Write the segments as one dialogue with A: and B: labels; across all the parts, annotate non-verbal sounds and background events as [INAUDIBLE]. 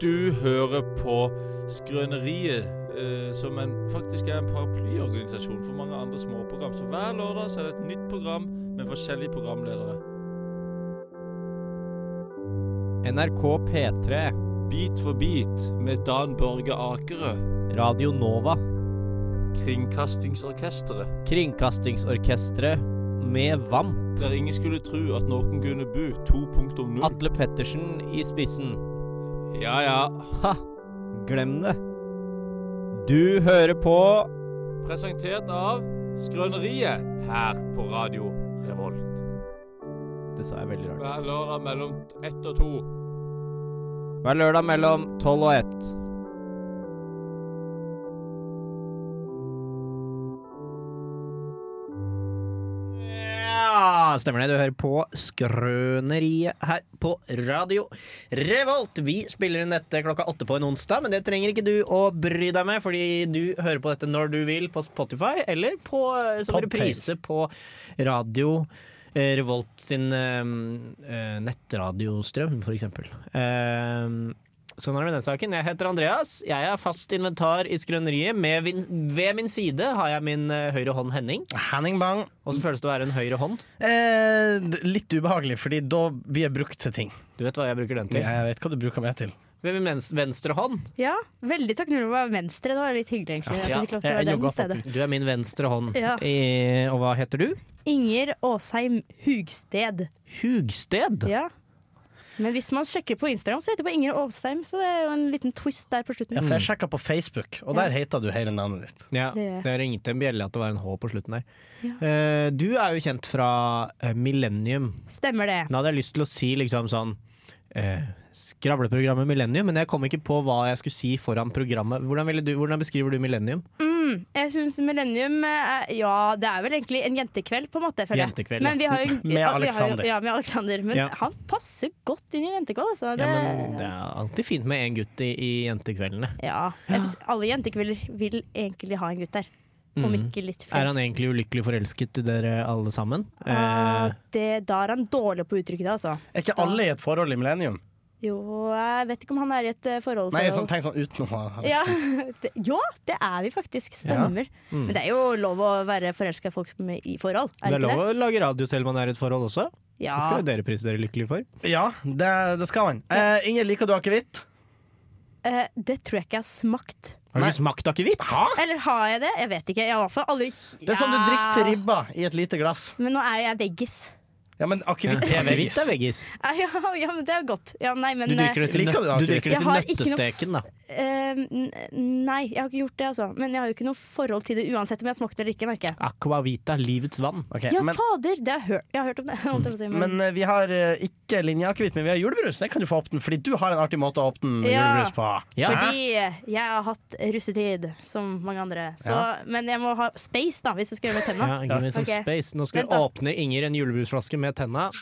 A: Du hører på Skrøneriet, eh, som en, faktisk er en paraplyorganisasjon for mange andre småprogram. Så hver lørdag så er det et nytt program med forskjellige programledere.
B: NRK P3,
A: Bit for bit med Dan Børge Akerø,
B: Radio Nova,
A: Kringkastingsorkesteret.
B: Kringkastingsorkestret med VAMP,
A: Der ingen skulle tru at noen kunne bu 2.0.
B: Atle Pettersen i spissen.
A: Ja ja.
B: Ha! Glem det. Du hører på
A: Presentert av Skrøneriet her på Radio Revolt.
B: Det sa jeg veldig rart.
A: Hver lørdag mellom ett og to.
B: Hver lørdag mellom tolv og ett. Ja, stemmer det. Du hører på Skrøneriet her på Radio Revolt. Vi spiller inn dette klokka åtte på en onsdag, men det trenger ikke du å bry deg med, fordi du hører på dette når du vil på Spotify, eller på, eh, som
C: Podtail.
B: reprise på Radio eh, Revolt sin eh, eh, nettradiostrøm, for eksempel. Eh, Sånn er det med den saken. Jeg heter Andreas. Jeg er fast inventar i Skrøneriet. Med vin ved min side har jeg min eh, høyre hånd Henning.
C: Henning Bang.
B: Hvordan føles det å være en høyre hånd?
C: Eh, d- litt ubehagelig, fordi da blir jeg brukt til ting.
B: Du vet hva jeg bruker den til.
C: Jeg vet hva du bruker meg til.
B: Ved min mens- venstre hånd.
D: Ja, veldig takknemlig for å være venstre. Det var litt hyggelig, egentlig.
B: Ja.
D: at vi fikk lov til å
C: Jeg
D: være
C: ender
D: den
C: godt at
D: stedet.
C: du
B: Du er min venstre hånd.
D: Ja.
B: I, og hva heter du?
D: Inger Aasheim Hugsted.
B: Hugsted.
D: Ja. Men hvis man sjekker på Instagram, så heter det på Inger Aasheim, så det er jo en liten twist der på
C: ja,
D: slutten.
C: for Jeg sjekka på Facebook, og der heter du hele navnet ditt.
B: Ja,
D: Det-
B: det ringte en bjelle at det var en H på slutten der.
D: Ja.
B: Eh, Du er jo kjent fra eh, Millennium.
D: Stemmer det.
B: Nå hadde jeg lyst til å si liksom sånn eh, Skravleprogrammet Millennium, men jeg kom ikke på hva jeg skulle si foran programmet. Hvordan, ville du, hvordan beskriver du Millennium?
D: Mm, Jeg syns Millennium er, Ja, det er vel egentlig en jentekveld, på en måte. Føler jeg.
B: Jentekveld, ja.
D: men vi har
B: [LAUGHS]
D: jo,
C: Med
D: vi har jo-
C: Alexander.
D: Ja, med Alexander. Men
B: Ja.
D: han passer godt inn i en jentekveld, altså. Det,
B: Ja, men det er alltid fint med en gutt i, i jentekveldene.
D: ja. Jeg synes alle jentekvelder vil egentlig ha en gutt der. Om ikke litt
B: Mm. Er
D: flere.
B: han egentlig ulykkelig forelsket, dere alle sammen?
D: Ah,
B: Eh,
D: det, da er han dårlig på å uttrykke det, altså.
C: Er ikke alle i et forhold i millennium?
D: Jo, jeg vet ikke om han er i et eh, forhold
C: Nei,
D: forhold.
C: sånn, tenk sånn utenom. han-
D: ja, [LAUGHS] det, ja, det er vi faktisk. Stemmer.
C: Mm.
D: Men det er jo lov å være forelska i folk som er i forhold. Er
B: det
D: det
B: er
D: ikke
B: lov
D: det?
B: å lage radio selv om man er i et forhold også.
D: Ja.
B: Det skal jo dere prise dere lykkelige for.
C: Ja, det, det skal man. Eh, Inger, liker du akevitt?
D: Eh, det tror jeg ikke jeg har smakt.
B: Har du
C: Nei.
B: ikke smakt akevitt?
D: Eller har jeg det? Jeg vet ikke. Jeg har i hvert fall aldri
C: Det er som du drikker til ribba i et lite glass.
D: Men nå er jo jeg veggis. [LAUGHS]
C: Ja, men akevitt er
B: Akevitt
C: veggis.
B: er veggis.
D: Ja, ja, ja, men det er godt. Ja, nei, men
B: Du drikker det til,
C: Liker
B: nø-
C: du
B: du
C: akevitt?
B: drikker det
D: Jeg
B: til
D: har ikke noe f-
B: nøttesteken, da.
D: eh, n- Nei, jeg har ikke gjort det, altså. Men jeg har jo ikke noe forhold til det uansett om jeg har smakt det eller ikke, merker jeg.
B: Aquavita, livets vann.
C: Ok,
D: Ja,
C: men,
D: fader! Det har jeg hørt, jeg har hørt om det. [LAUGHS] holdt jeg på å si, men-
C: men eh, vi har eh, ikke linjeakevitt, men vi har julebrus. Den kan du få åpne, fordi du har en artig måte å åpne
D: Ja.
C: julebrus på.
B: Ja.
D: Fordi jeg har hatt russetid, som mange andre. Så,
C: Ja.
D: Men jeg må ha space, da, hvis jeg skal gjøre med tenna.
B: Ja, give me some
D: Ok.
B: space. Nå skal
D: Vent
B: vi
D: da.
B: åpne Inger en julebrusflaske med tenna.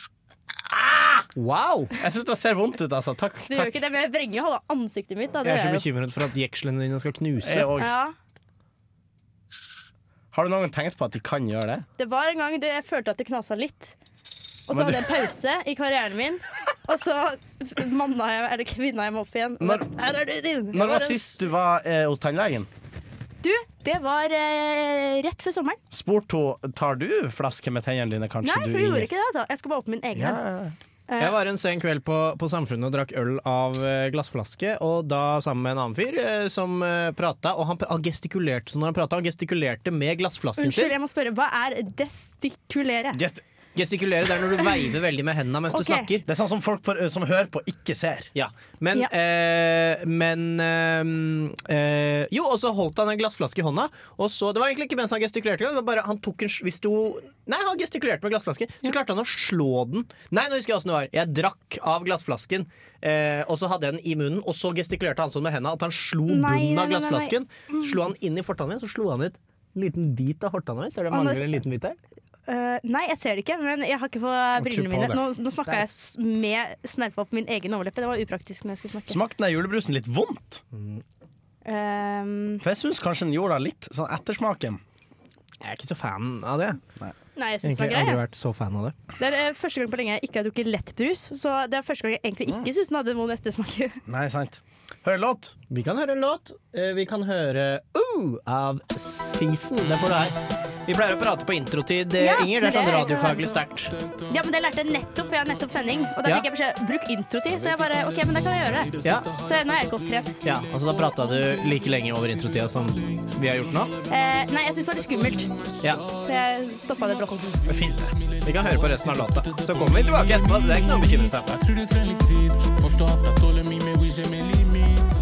D: Ah!
B: Wow!
C: Jeg syns det ser vondt ut, altså. Takk.
D: Det gjør jo
C: takk.
D: ikke det, men jeg vrenger halve ansiktet mitt. Da. Det
B: Jeg er så
D: gjør jeg jo.
B: bekymret for at jekslene dine skal knuse.
C: Jeg òg.
D: Ja,
C: Har du noen gang tenkt på at de kan gjøre det?
D: det var en gang det, jeg følte at det knasa litt. Og så
C: Men
D: hadde jeg en pause i karrieren min, og så manna jeg eller kvinna jeg meg opp igjen.
C: Når-
D: Men her er du din! Det
C: Når var
D: en-
C: sist du var eh, hos tannlegen?
D: Du, det var eh, rett før sommeren.
C: Spurte hun tar du flaske med tennene dine, kanskje?
D: Nei,
C: du,
D: hun gjorde ikke det. altså Jeg skal bare åpne min egen. Eh,
C: Ja,
D: her.
C: ja, ja.
B: Jeg var en sen kveld på, på Samfunnet og drakk øl av eh, glassflaske, og da sammen med en annen fyr eh, som eh, prata, og han, pr- han gestikulerte så når han prata, han gestikulerte med glassflasken
D: Unnskyld,
B: sin.
D: jeg må spørre. Hva er gestikulere?
C: Just-
B: Gestikulere det er når du veiver veldig med hendene mens
D: Ok.
B: du snakker.
C: Det er sånn som folk på, som hører på, ikke ser.
B: Ja, men,
D: Ja.
B: Eh, men eh, eh, Jo, og så holdt han en glassflaske i hånda, og så Det var egentlig ikke mens han gestikulerte, det var bare han tok en sl- Hvis du Nei, han gestikulerte med glassflaske, så klarte han å slå den. Nei, nå husker jeg åssen det var. Jeg drakk av glassflasken, eh, og så hadde jeg den i munnen, og så gestikulerte han sånn med hendene at han slo
D: Nei, Mm.
B: bunnen av
D: nei, nei, nei.
B: glassflasken. Slo han inn i fortanna mi, så slo han ut en liten bit av hortanna mi. Ser du det
D: Anders-
B: mangler en liten bit der?
D: Eh, nei, jeg ser det ikke, men jeg har ikke på brillene
C: på
D: mine.
C: det.
D: Nå, nå snakka jeg s- med snerpa på min egen overleppe. Det var upraktisk når jeg skulle snakke.
C: Smakte den julebrusen litt vondt?
D: Ehm,
C: For jeg syns kanskje den gjorde det litt. Sånn ettersmaken.
B: Jeg er ikke så fan av det.
C: Nei.
D: Nei, jeg syns den
B: Egentlig
D: var grei.
B: aldri
D: jeg.
B: vært så fan av det.
D: Det er eh, første gang på lenge jeg ikke har drukket lettbrus. Så det er første gang jeg egentlig ikke syns den hadde noen ettersmak.
C: Nei, sant. Hørelåt.
B: Vi kan høre en låt. Eh, Vi kan høre Ooh av Season. Den får du her. Vi pleier å prate på introtid, eh,
D: Ja,
B: Inger. Det
D: men
B: er sånn
D: det er-
B: radiofaglig sterkt.
D: Ja, men det lærte jeg nettopp, for jeg har nettopp sending. Og da
B: Ja.
D: fikk jeg beskjed bruk introtid, så jeg bare OK, men da kan jeg gjøre det.
B: Ja.
D: Så nå er jeg godt trent.
B: ja, altså Da prata du like lenge over introtida som vi har gjort nå.
D: Eh, nei, jeg syns det var litt skummelt,
B: Ja,
D: så jeg stoppa det brått.
B: Fint. Vi kan høre på resten av låta. Så kommer vi tilbake etterpå. Det er ikke noe å bekymre seg for.
E: Tror du trenger litt tid. Forstå at jeg tåler mye, men vi ser med limit.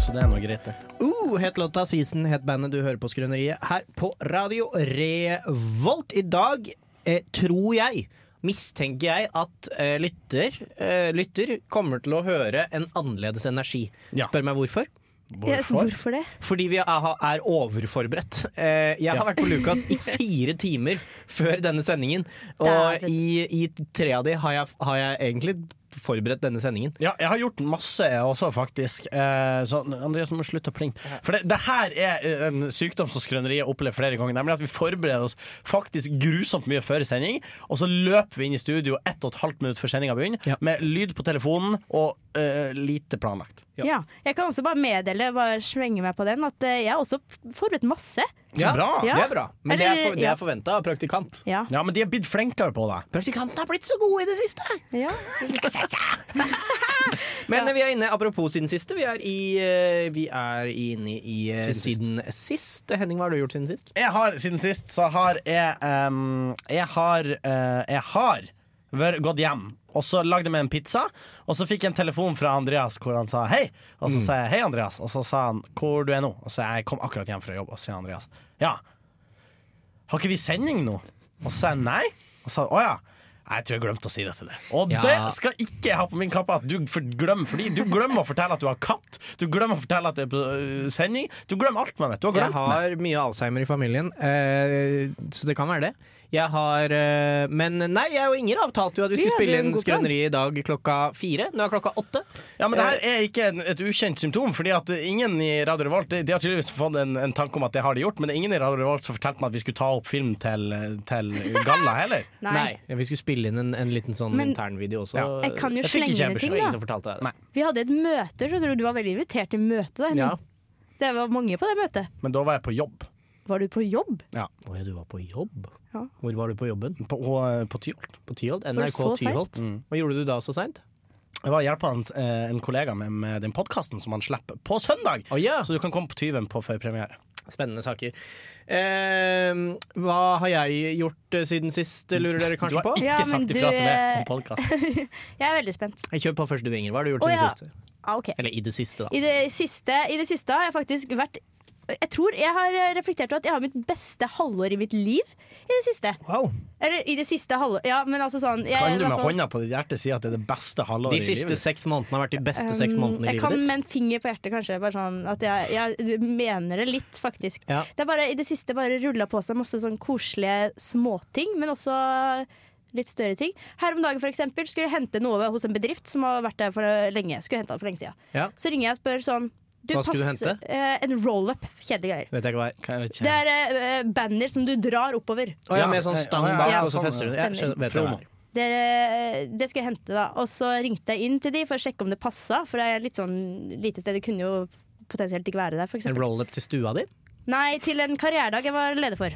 C: Så det er noe greit, det.
B: Ooh Uh, het låta Season, het bandet du hører på Skrøneriet her på Radio Revolt. I dag eh, tror jeg, mistenker jeg, at eh, lytter, eh, lytter kommer til å høre en annerledes energi.
C: Ja.
B: Spør meg hvorfor.
D: Jeg- Hvorfor det?
B: Fordi vi er, er overforberedt. Eh, jeg har
C: Ja.
B: vært på Lukas
D: [LAUGHS]
B: i fire timer før denne sendingen, og
D: Dæven.
B: i, i tre av de har jeg, har jeg egentlig forberedt denne sendingen.
C: Ja, jeg har gjort masse jeg også, faktisk. Eh, så Andreas, du må slutte å plinge. For det, det her er eh, en sykdom som Skrøneriet har opplevd flere ganger. Nemlig at vi forbereder oss faktisk grusomt mye før sending, og så løper vi inn i studio ett og et halvt minutt før sendinga begynner,
B: Ja.
C: med lyd på telefonen og eh, lite planlagt.
B: Ja.
D: Ja. Jeg kan også bare meddele, bare slenge meg på den, at eh, jeg har også forberedt masse.
C: Så bra!
D: Ja.
B: Det er bra. Men det er,
D: Eller-
B: for, det
D: ja.
B: er forventa av praktikant.
D: Ja.
C: Ja, men de er blitt flinkere på det.
B: Praktikanten har blitt så god i det siste!
C: [LAUGHS]
D: ja.
B: Men eh, vi er inne, apropos siden siste, vi er, i, eh, vi er inne i eh,
C: Siden sist.
B: siden sist. Henning, hva har du gjort siden sist?
C: Jeg har, siden sist, så har jeg ehm, Jeg har, eh, jeg har vært- gått hjem og så lagde jeg meg en pizza, og så fikk jeg en telefon fra Andreas hvor han sa hei. Og så
B: Mm.
C: sa jeg hei, Andreas, og så sa han hvor du er nå. Og så jeg kom akkurat hjem fra jobb, og så sier Andreas ja, har ikke vi sending nå? Og så sa jeg nei. Og så sa han å ja. Nei, Jeg tror jeg glemte å si det til deg. Og
B: Ja.
C: det skal ikke jeg ha på min kappe. At du for- glemmer fordi Du glemmer å fortelle at du har katt. Du glemmer å fortelle at det er på øh, sending. Du glemmer alt med meg. Du har
B: Jeg
C: glemt meg.
B: har mye Alzheimer i familien, eh, så det kan være det. Jeg har eh, Men nei, jeg og Inger avtalte jo at vi
D: Vi
B: skulle
D: hadde
B: spille
D: en
B: inn
D: god plan.
B: Skrøneriet i dag klokka fire. Nå er klokka åtte.
C: Ja, men det
B: Eh.
C: her er ikke en- et ukjent symptom, fordi at ingen i Radio Revolt De de har tydeligvis fått en, en tanke om at det har de gjort, men det er ingen i Radio Revolt som fortalte meg at vi skulle ta opp film til, til galla heller.
D: Nei.
B: Nei. Ja, vi skulle spille inn en, en liten sånn
D: Men-
B: internvideo også.
C: Ja.
D: Jeg kan jo
C: Jeg fikk ikke
D: slenge
C: liksom. en
D: inn ting,
B: Det var ingen
D: da.
B: som fortalte deg det.
D: Vi hadde et møte, skjønner du. Du var veldig invitert til møte. Da, Henning.
B: Ja.
D: Det var mange på det møtet.
C: Men da var jeg på jobb.
D: Var du på jobb?
B: Å ja, du var på jobb?
D: Ja.
B: Hvor var du på jobben?
C: På, og, eh, på Tyholt.
B: På Tyholt?
D: du
B: NRK
D: så sent?
B: Tyholt? Hva gjorde du da så seint?
C: Jeg var hjelpa hans, eh, en kollega med, med den podkasten som han slipper på søndag.
B: Å ja!
C: Så du kan komme på Tyven på førpremiere.
B: Spennende saker. Eh, hva har jeg gjort eh, siden sist, lurer dere
C: Du
B: kanskje
C: har
B: på?
C: ikke
D: Ja, men
C: sagt
D: du,
C: ifra til meg
D: eh,
C: om podkast.
D: Jeg er veldig spent.
B: Kjør på først du, Inger. Hva har du gjort
D: Å,
B: siden
D: ja.
B: sist?
D: Ah, ok.
B: Eller i det siste, da.
D: I det siste, I det siste har jeg faktisk vært Jeg tror jeg har eh, reflektert over at jeg har mitt beste halvår i mitt liv i det siste.
B: Wow.
D: Eller i det siste halvår Ja, men altså sånn [LAUGHS] jeg,
C: Kan du
D: i hvert
C: med
D: fall-
C: hånda på ditt hjerte si at det er det beste halvåret
B: De
C: i
B: siste
C: livet?
B: seks månedene har vært de beste seks
D: Um,
B: månedene i
D: Jeg kan
B: livet
D: med
B: ditt.
D: en finger på hjertet, kanskje. Bare sånn at jeg, jeg mener det litt, faktisk.
B: Ja.
D: Det er bare I det siste bare rulla på seg masse sånn koselige småting, men også litt større ting. Her om dagen for eksempel, skulle jeg hente noe hos en bedrift som har vært der for lenge. Skulle hente det for lenge siden.
B: Ja.
D: Så ringer jeg og spør sånn du,
B: Hva skulle du
D: pass-
B: hente?
D: Eh, en roll-up. Kjedelige greier.
B: Vet jeg ikke hva jeg
C: Kan jeg ikke-
D: Det er eh, banner som du drar oppover.
B: Å ja, med sånn
C: Ja,
B: stang
C: ja,
B: bak,
D: ja,
B: og så
C: sånn,
B: fester du. Ja,
D: stemmer.
B: skjønner, vet jeg hva
C: Promo.
B: det er.
D: det, det skulle jeg hente, da. Og så ringte jeg inn til de for å sjekke om det passa, for det er litt sånn lite sted. Det kunne jo potensielt ikke være der, for
B: En
D: eksempel.
B: roll-up til stua di?
D: Nei, til en karrieredag jeg var leder for.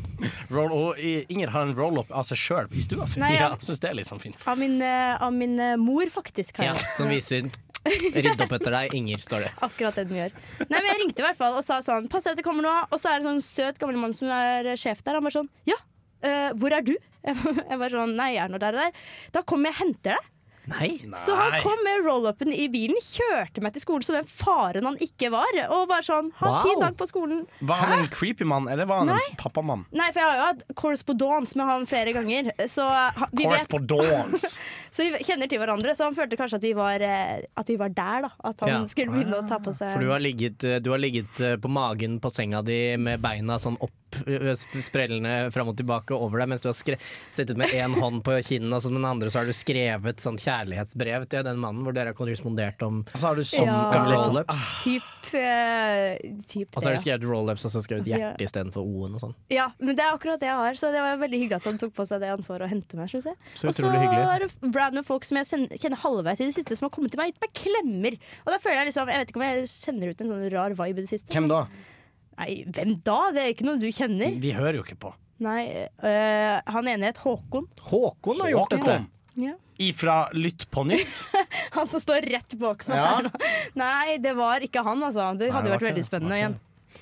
C: Roll, og i- Inger har en roll-up av seg sjøl i stua si.
D: Nei, ja.
C: Jeg syns det er litt sånn fint.
D: Av min, eh, av min eh, mor, faktisk. Har
B: Ja,
D: jeg.
B: som viser 'rydd opp etter deg, Inger', står det.
D: Akkurat det den gjør. Nei, men Jeg ringte i hvert fall og sa sånn Pass deg at det kommer noe. Og så er det sånn søt gammel mann som er eh, sjef der. Han bare sånn Ja, eh, hvor er du? Jeg bare sånn Nei, jeg er nå der og der. Da kommer jeg og henter deg.
B: Nei!
D: Så han
C: Nei.
D: kom med roll-upen i bilen, kjørte meg til skolen som den faren han ikke var. Og bare sånn Ha
B: Wow.
D: fin dag på skolen.
C: Var han en creepy mann, eller var han en pappamann?
D: Nei, for jeg har jo hatt korrespondans med han flere ganger. Så ha- vi, vet,
C: Correspondence!
D: så vi kjenner til hverandre. Så han følte kanskje at vi var, eh, at vi var der, da. At han
B: Ja. Ah. Um,
D: skulle begynne å ta på seg
B: For du har ligget, eh, du har ligget eh, på magen på senga di med beina sånn opp sp sp- sprellende fram og tilbake over deg mens du har skre sittet med én hånd på kinnet, og så med den andre så har du skrevet sånn kjærlighetsbrev til den mannen hvor dere har korrespondert om
C: Og [LAUGHS] så har du sånn
B: Ah.
D: Ja.
C: gammel liksom.
B: roll-ups.
D: Typ, eh, typ
B: Og så har
D: det,
B: du
D: ja.
B: skrevet roll-ups og så skrevet hjerte istedenfor O-en og sånn.
D: ja, men det er akkurat det jeg har, så det var veldig hyggelig at han tok på seg det ansvaret og hentet meg. Synes jeg.
B: Så
D: og så
B: utrolig hyggelig.
D: er det f- random folk som jeg sen- kjenner halvveis i det siste, som har kommet til meg og gitt meg klemmer. Og da føler jeg liksom Jeg vet ikke om jeg sender ut en sånn rar vibe i det siste.
C: Hvem da? Mm.
D: Nei, hvem da? Det er ikke noen du kjenner.
C: De hører jo ikke på.
D: Nei, øh, han ene het Håkon.
B: Håkon har gjort dette!
C: Håkon ifra Lytt
B: [LAUGHS]
C: på nytt.
D: Han som står rett bak meg
C: Ja.
D: her nå. Nei, det var ikke han, altså.
C: det
D: Det hadde jo
C: var
D: vært
C: ikke
D: veldig
C: det.
D: spennende igjen.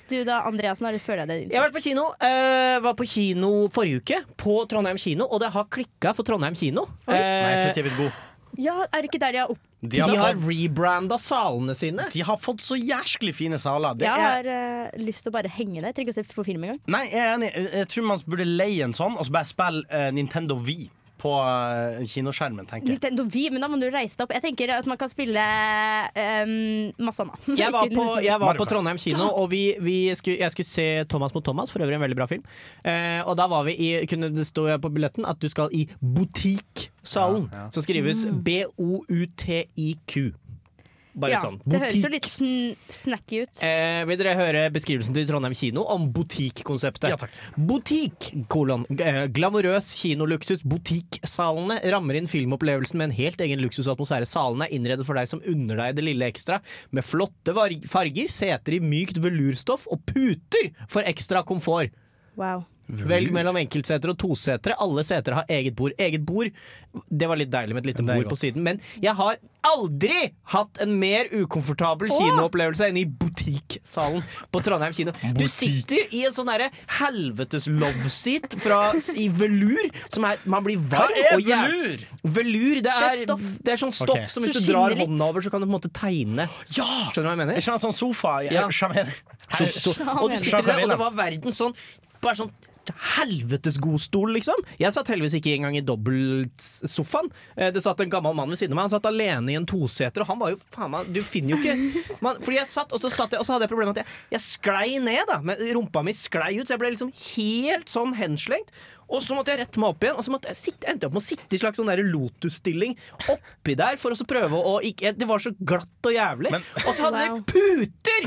D: Du da, Andreassen, har du- føler jeg det er din
B: Jeg har vært på kino. eh, var på kino forrige uke, på Trondheim kino, og det har klikka for Trondheim kino.
C: Nei, jeg synes
B: Eh,
C: de er blitt gode.
D: Ja, er det ikke der de har opp...
C: De
B: de
C: har,
B: har
C: fått,
B: rebranda salene sine.
C: de har fått så jæsklig fine saler. Det
D: Jeg
C: er
D: har øh, lyst til å bare henge der. Jeg Trenger ikke å se på film engang.
C: Nei, jeg er enig. Jeg- Jeg tror man burde leie en sånn, og så bare spille eh, Nintendo Wii på eh, kinoskjermen, tenker jeg.
D: Nintendo Wii, men da må du reise deg opp. Jeg tenker at man kan spille øhm, masse annet.
B: Jeg var på, jeg var
C: Mario
B: på
C: Kart.
B: Trondheim kino, og vi, vi skulle, jeg skulle se 'Thomas mot Thomas', for øvrig en veldig bra film. Eh, og da var vi i, kunne det stå på billetten at du skal i Butikksalen,
C: Ja, ja.
B: som skrives B-O-U-T-I-Q. Bare
D: Mm. ja,
B: sånn.
D: Det høres jo
B: Butikk.
D: litt sn snacky ut.
B: Eh, vil dere høre beskrivelsen til Trondheim kino om butikkonseptet?
C: Ja, takk.
B: Butikk, kolon. g- eh, Glamorøs kinoluksus. Butikksalene rammer inn filmopplevelsen med en helt egen luksusatmosfære. Salene er innredet for deg som unner deg det lille ekstra, med flotte var- farger, seter i mykt velurstoff og puter for ekstra komfort.
D: Wow.
B: Velg mellom enkeltseter og tosetere. Alle setere har eget bord. Eget bord, det var litt deilig med et lite
C: Det er
B: bord på
C: godt.
B: siden, men jeg har aldri hatt en mer ukomfortabel kinoopplevelse enn i butikksalen på Trondheim kino. Du sitter i en sånn derre helvetes love seat fra, i velur, som er Man blir
C: Hva
B: varm
C: er
B: og jæv-
C: velur?
B: Velur, det er, det er,
D: stoff.
B: sånn stoff
C: Ok.
B: som hvis
D: Som
B: du drar
D: skinner litt.
B: hånda over, så kan du på en måte tegne.
C: Ja!
B: Skjønner du hva jeg mener?
C: Jeg skjønner sånn sofa. Jeg,
B: Ja.
C: sjaman-
B: Her- Og du sitter der, og det var verden sånn Bare sånn helvetes god stol, liksom. Jeg satt heldigvis ikke engang i dobbeltsofaen. Eh, Det satt en gammel mann ved siden av meg. Han satt alene i en toseter, og han var jo faen meg Du finner jo ikke man, Fordi jeg satt, og så, satt jeg, og så hadde jeg problemet med at jeg, jeg sklei ned, da. Men rumpa mi sklei ut, så jeg ble liksom helt sånn henslengt. Og så måtte jeg rette meg opp igjen, og så måtte jeg sitte, endte jeg opp med å sitte i slags sånn der lotus-stilling oppi der for å så prøve å ikke Det var så glatt og jævlig.
C: Men-
B: og så hadde
D: Wow.
B: jeg puter!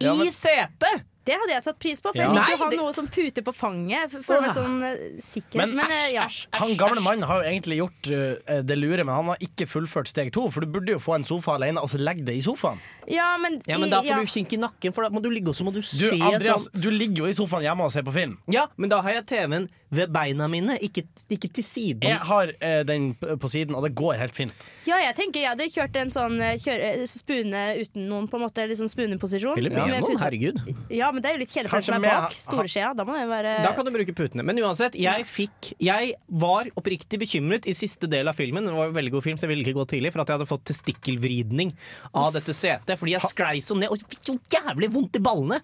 C: Ja, men-
B: I setet!
D: Det hadde jeg satt pris på, for
C: Ja.
D: jeg liker
B: Nei,
D: å ha
B: det-
D: noe som puter på fanget. For, for
B: Åh.
D: meg sånn eh, sikkerhet.
C: Men
D: Men, eh, ja.
C: Han gamle mannen har jo egentlig gjort eh, det lure, men han har ikke fullført steg to. For du burde jo få en sofa alene og så legge det i sofaen.
D: ja, men,
B: Ja, men da får
D: ja.
B: du kink i nakken, for da må du ligge og så må du
C: Du,
B: se
C: Andreas,
B: sånn.
C: du ligger jo i sofaen hjemme og ser på film.
B: Ja, men da har jeg TV-en ved beina mine, ikke, ikke til siden.
C: Jeg har eh, den p- på siden, og det går helt fint.
D: Ja, jeg tenker jeg hadde kjørt en sånn eh, kjøre, eh, spune uten noen, på en måte. Litt sånn spuneposisjon.
B: Til og med
D: Med
B: noen,
D: pute-
B: herregud.
D: Ja, men det er jo litt kjedelig for den
C: Kanskje
D: som er
C: med-
D: bak. Storeskjea. Da må det være
B: Da kan du bruke putene. Men uansett, jeg fikk Jeg var oppriktig bekymret i siste del av filmen. Det var en veldig god film, så jeg ville ikke gå tidlig, for at jeg hadde fått testikkelvridning av dette setet. Fordi jeg sklei så ned og fikk så jævlig vondt i ballene.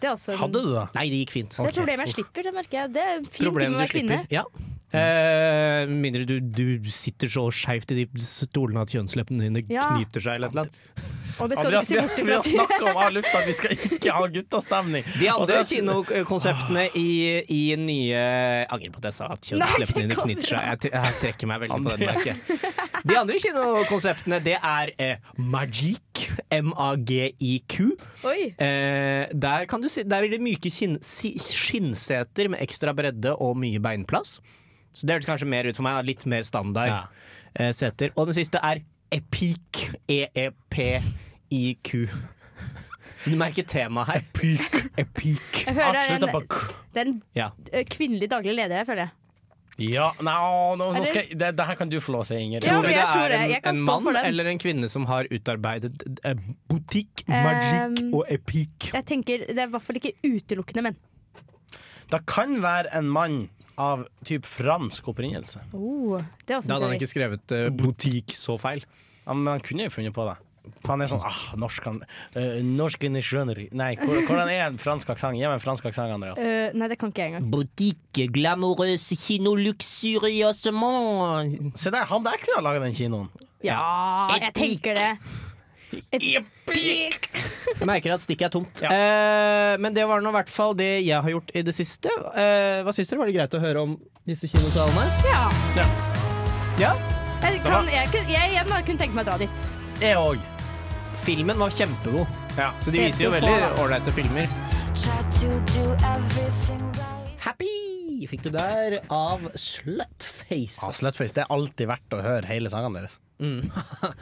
D: Det er også en-
C: Hadde du det?
B: Nei, det gikk fint.
D: Det er et problem jeg slipper, det merker jeg. Det er en fin ting med å
B: Problemet du
D: være kvinne.
B: slipper. Ja. Eh, mindre du, du sitter så skeivt i de stolene at kjønnsleppene dine
D: Ja.
B: knyter seg eller et eller annet.
D: Og det skal
C: Andreas,
D: du
C: vi har,
D: ikke se
C: vi har
D: bort ifra.
C: snakka om av lufta at vi skal ikke ha guttastemning. Altså,
B: De andre
C: Og så-
B: kinokonseptene i, i nye Ah, Jeg Angrer på at jeg sa at kjønnsleppene
D: Nei, det
B: dine
D: går
B: knytter seg. Jeg, t- jeg trekker meg veldig på den
C: Andreas.
B: merket. De andre kinokonseptene, det er eh, Magic. M-a-g-i-q.
D: Oi.
B: Eh, der, kan du si, der er det myke kinn, si, skinnseter med ekstra bredde og mye beinplass. Så det høres kanskje mer ut for meg. da. Litt mer standard
C: Ja.
B: eh, seter. Og den siste er Epic. E E-e-p-i-q. Så du merker temaet her. Epic. Epic.
D: Jeg hører det
C: Avslutta
D: er
C: på
D: en, det er en
B: Ja.
D: eh, kvinnelig daglig leder her, føler jeg.
C: Ja, nei, nå, nå
D: Er det-
C: skal jeg, det, det her kan du få lov å si, Inger.
D: Ja, men jeg
B: det
D: tror
B: er
D: det.
B: en,
D: Jeg kan
B: en
D: stå
B: mann
D: for den.
B: eller en kvinne som har utarbeidet eh, butikk, magic
D: Um,
B: og epic.
D: Jeg tenker Det er i hvert fall ikke utelukkende menn.
C: Det kan være en mann av typ fransk opprinnelse.
D: Oh, det er også
B: Da
D: en
B: hadde han
D: teori.
B: ikke skrevet eh, butikk så feil.
C: Ja, men han kunne jo funnet på det. For Han er sånn ah, norsk han, eh, norsk inni skjøneri. Nei, hvor- hvordan er en fransk aksent? Gi meg en fransk aksent, Andreas.
D: Eh, nei, det kan ikke jeg engang.
B: Boutique glamorøse kino luxuriøsement.
C: Se der, han der kunne ha laga den kinoen.
D: Ja, jeg tenker det.
B: Jeg merker at stikket er tomt. Eh, men det var nå i hvert fall det jeg har gjort i det siste. Eh, hva syns dere? Var det greit å høre om disse kinosalene?
D: Ja.
B: Ja.
D: Jeg, kan, jeg, kun- jeg, jeg bare kunne tenke meg å dra dit.
C: Jeg òg.
B: Filmen var kjempegod, så de
D: Helt
B: viser jo
D: på.
B: veldig ålreite filmer.
F: Try to do everything right.
B: Happy fikk du der av Slutface.
C: Ah, Slutface, det er alltid verdt å høre hele sangene deres.
B: [LAUGHS]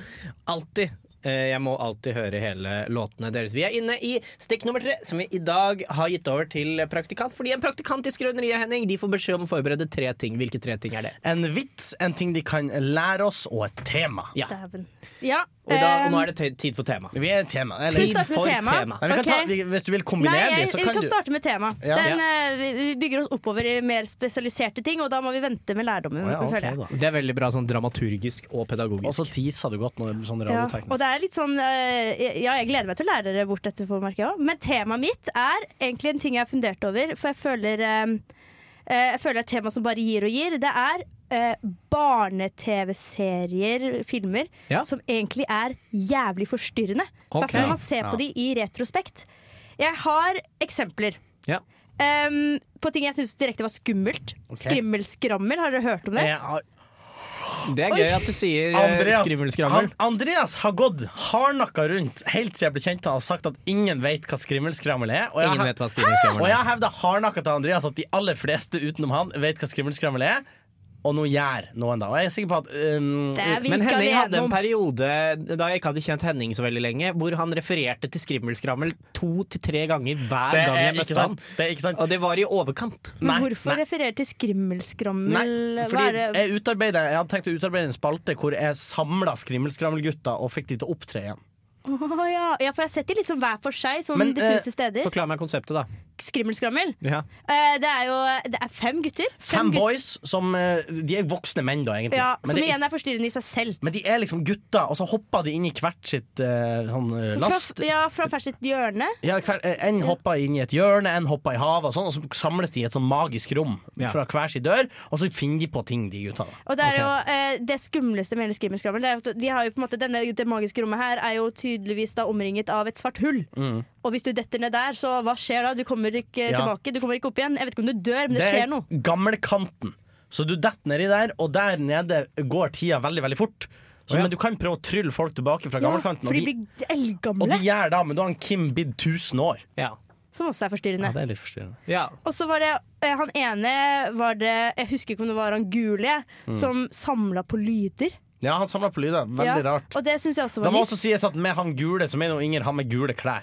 B: Alltid. Eh, Jeg må alltid høre hele låtene deres. Vi er inne i stikk nummer tre, som vi i dag har gitt over til praktikant. Fordi en praktikant i Skrøneriet, Henning, de får beskjed om å forberede tre ting. Hvilke tre ting er det?
C: En vits, en ting de kan lære oss, og et tema.
B: Ja.
D: Dæven. Ja.
B: Og, da, og nå
D: ehm,
B: er det te- tid for tema.
C: Vi er et tema. eller-
D: Skal vi starte med
C: for
D: tema?
C: Nei, vi kan ta,
D: Ok.
C: vi, hvis du vil kombinere
D: Nei, jeg,
C: de, så
D: vi
C: kan,
D: kan
C: du
D: starte med tema.
C: Ja.
D: Den, eh, vi- vi bygger oss oppover i mer spesialiserte ting, og da må vi vente med lærdommen.
C: Å ja, ok,
D: føler jeg.
C: da.
B: Det er veldig bra sånn dramaturgisk og
C: Og så
B: pedagogisk.
C: tisa du godt når det blir sånn
D: Ja,
C: radioteknisk.
D: og det er litt sånn eh, Ja, jeg gleder meg til å lære dere bort etterpå, merker jeg òg. Men temaet mitt er egentlig en ting jeg har fundert over, for jeg føler eh, eh, Jeg føler det er et tema som bare gir og gir. Det er eh, barne-TV-serier, filmer,
B: Ja.
D: som egentlig er jævlig forstyrrende. I
B: Ok.
D: hvert fall når man ser på de i retrospekt. Jeg har eksempler.
B: Ja.
D: Em, på ting jeg syns direkte var skummelt. Skrimmelskrammel, har dere hørt om det?
C: Jeg har-
B: Det er gøy at du sier eh,
C: Andreas,
B: skrimmelskrammel.
C: han, Andreas har gått hardnakka rundt helt siden jeg ble kjent med han og sagt at ingen vet hva skrimmelskrammel er. Og jeg,
B: Ingen
C: har-
B: vet hva skrimmelskrammel
C: og jeg
B: er.
C: hevder hardnakka til Andreas at de aller fleste utenom han vet hva skrimmelskrammel er. Og nå gjør noen det. Og jeg er sikker på at um,
D: Det er vi
B: Men
D: ikke
B: Henning hadde
D: alene
B: en
D: om.
B: periode da jeg ikke hadde kjent Henning så veldig lenge, hvor han refererte til skrimmelskrammel to til tre ganger hver
C: det,
B: gang jeg
C: er ikke
B: møtte han.
C: sant. det er ikke sant.
B: Og det var i overkant.
D: Men
C: Nei,
D: hvorfor
C: nei.
D: referere til skrimmelskrammel?
C: Nei,
D: Hva
C: fordi
D: er det-
C: jeg, utarbeidet, jeg hadde tenkt å utarbeide en spalte hvor jeg samla skrimmelskrammel-gutta og fikk de til å opptre igjen.
D: Å ja. ja, for jeg har sett de liksom hver for seg, sånn
C: Men, eh,
D: diffuse steder.
B: Forklar meg konseptet, da.
D: Skrimmelskrammel. Eh, det er jo det er fem gutter.
C: Fem
D: gutter
C: boys som eh, De er voksne menn, da, egentlig.
D: ja,
C: men,
D: som
C: de,
D: igjen er forstyrrende i seg selv.
C: men de er liksom gutter, og så hopper de inn i hvert sitt eh, sånn, eh,
D: Fra,
C: last.
D: ja, fra hvert sitt hjørne.
C: Ja, hver, eh, en hopper inn i et hjørne, en hopper i havet, og sånn Og så samles de i et sånn magisk rom
B: Ja.
C: fra hver sin dør, og så finner de på ting, de gutta. da.
D: Og det er jo eh, det skumleste med hele Skrimmelskrammel. Det er at de har jo på en måte, denne, det magiske rommet her er jo tydeligvis da omringet av et svart hull. Og hvis du detter ned der, så hva skjer da? Du kommer
C: Mm.
D: ikke
C: Ja.
D: tilbake. Du kommer ikke opp igjen. Jeg vet ikke om du dør, men det, skjer noe.
C: er gamlekanten. Så du detter nedi der, og der nede går tida veldig, veldig fort. Så,
B: Å, ja.
C: Men du kan prøve å trylle folk tilbake fra
D: Ja,
C: gamlekanten.
D: for de
C: og de-
D: blir
C: Og de
D: eldgamle,
C: gjør det, men da har han Kim blitt 1000 år.
B: Ja.
D: som også er forstyrrende.
C: det er litt forstyrrende.
B: Ja.
D: Og så var det eh, han ene var det, Jeg husker ikke om det var han gule,
C: Mm.
D: som samla på lyder.
C: Ja, han samla på lyder. Veldig
D: Ja,
C: rart.
D: Og det syns jeg også
C: Det
D: var
C: må
D: litt
C: også sies at med han gule, så mener Inger han med gule [LAUGHS] klær.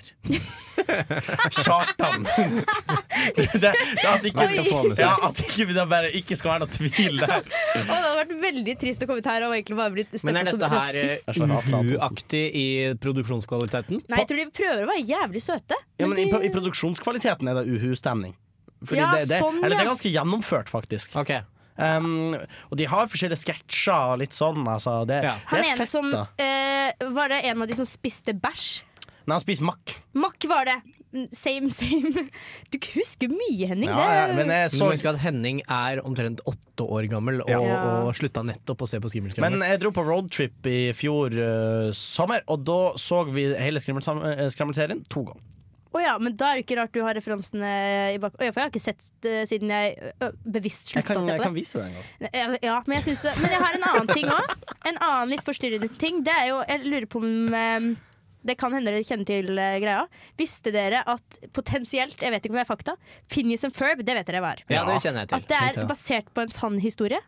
C: Kjartan. [LAUGHS] det, det, at ikke,
D: Verdt å få
B: med seg.
C: ja, at ikke, det bare ikke skal være noe tvil der.
D: Å, Det hadde vært veldig trist å komme hit her og egentlig bare blitt
B: Men er
D: snakket
B: dette
D: som
B: her eh,
D: rasist.
C: Jeg skjønner at Atlasen-
B: uaktig i produksjonskvaliteten?
D: Nei, jeg tror de prøver å være jævlig søte.
C: [LAUGHS] Ja, men i, pro-
D: de,
C: I produksjonskvaliteten er det uhu-stemning. Fordi
D: Ja,
C: det, det,
D: sånn,
C: eller det er
D: ja.
C: ganske gjennomført, faktisk.
B: Ok.
C: Um, og de har forskjellige sketsjer og litt sånn. Altså, det,
B: Ja.
C: det
D: han
C: er
D: ene
C: fett,
D: som
C: da.
D: eh, Var det en av de som spiste bæsj?
C: Når han spiser makk.
D: Mack var det. Mm, Same, [LAUGHS] same. Du husker mye, Henning.
C: Ja,
D: det
C: ja,
D: er-
C: men jeg
B: Så
C: så
B: må huske at Henning er omtrent åtte år gammel og,
D: Ja.
B: og slutta nettopp å se på Skrimmelskrammel.
C: Men eh, jeg dro på roadtrip i fjor eh, sommer, og da så vi hele Skrammelsam- eh, Skrammelserien to ganger.
D: Å ja, men da er det ikke rart du har referansene i bak... Å ja, for jeg har ikke sett det siden jeg ø, bevisst
C: Jeg
D: slutta
C: kan,
D: å se
C: jeg
D: på det.
C: kan vise deg det en gang.
D: Jeg- Ja, men jeg, synes, men jeg har en annen ting òg. En annen litt forstyrrende ting. Det er jo, Jeg lurer på om eh, Det kan hende dere kjenner til eh, greia. Visste dere at potensielt, jeg vet ikke om det er fakta, Phineas and Ferb, det vet dere hva er.
B: ja, det kjenner jeg
D: At
B: til.
D: det
C: Kjent, ja.
D: er basert på en sann historie.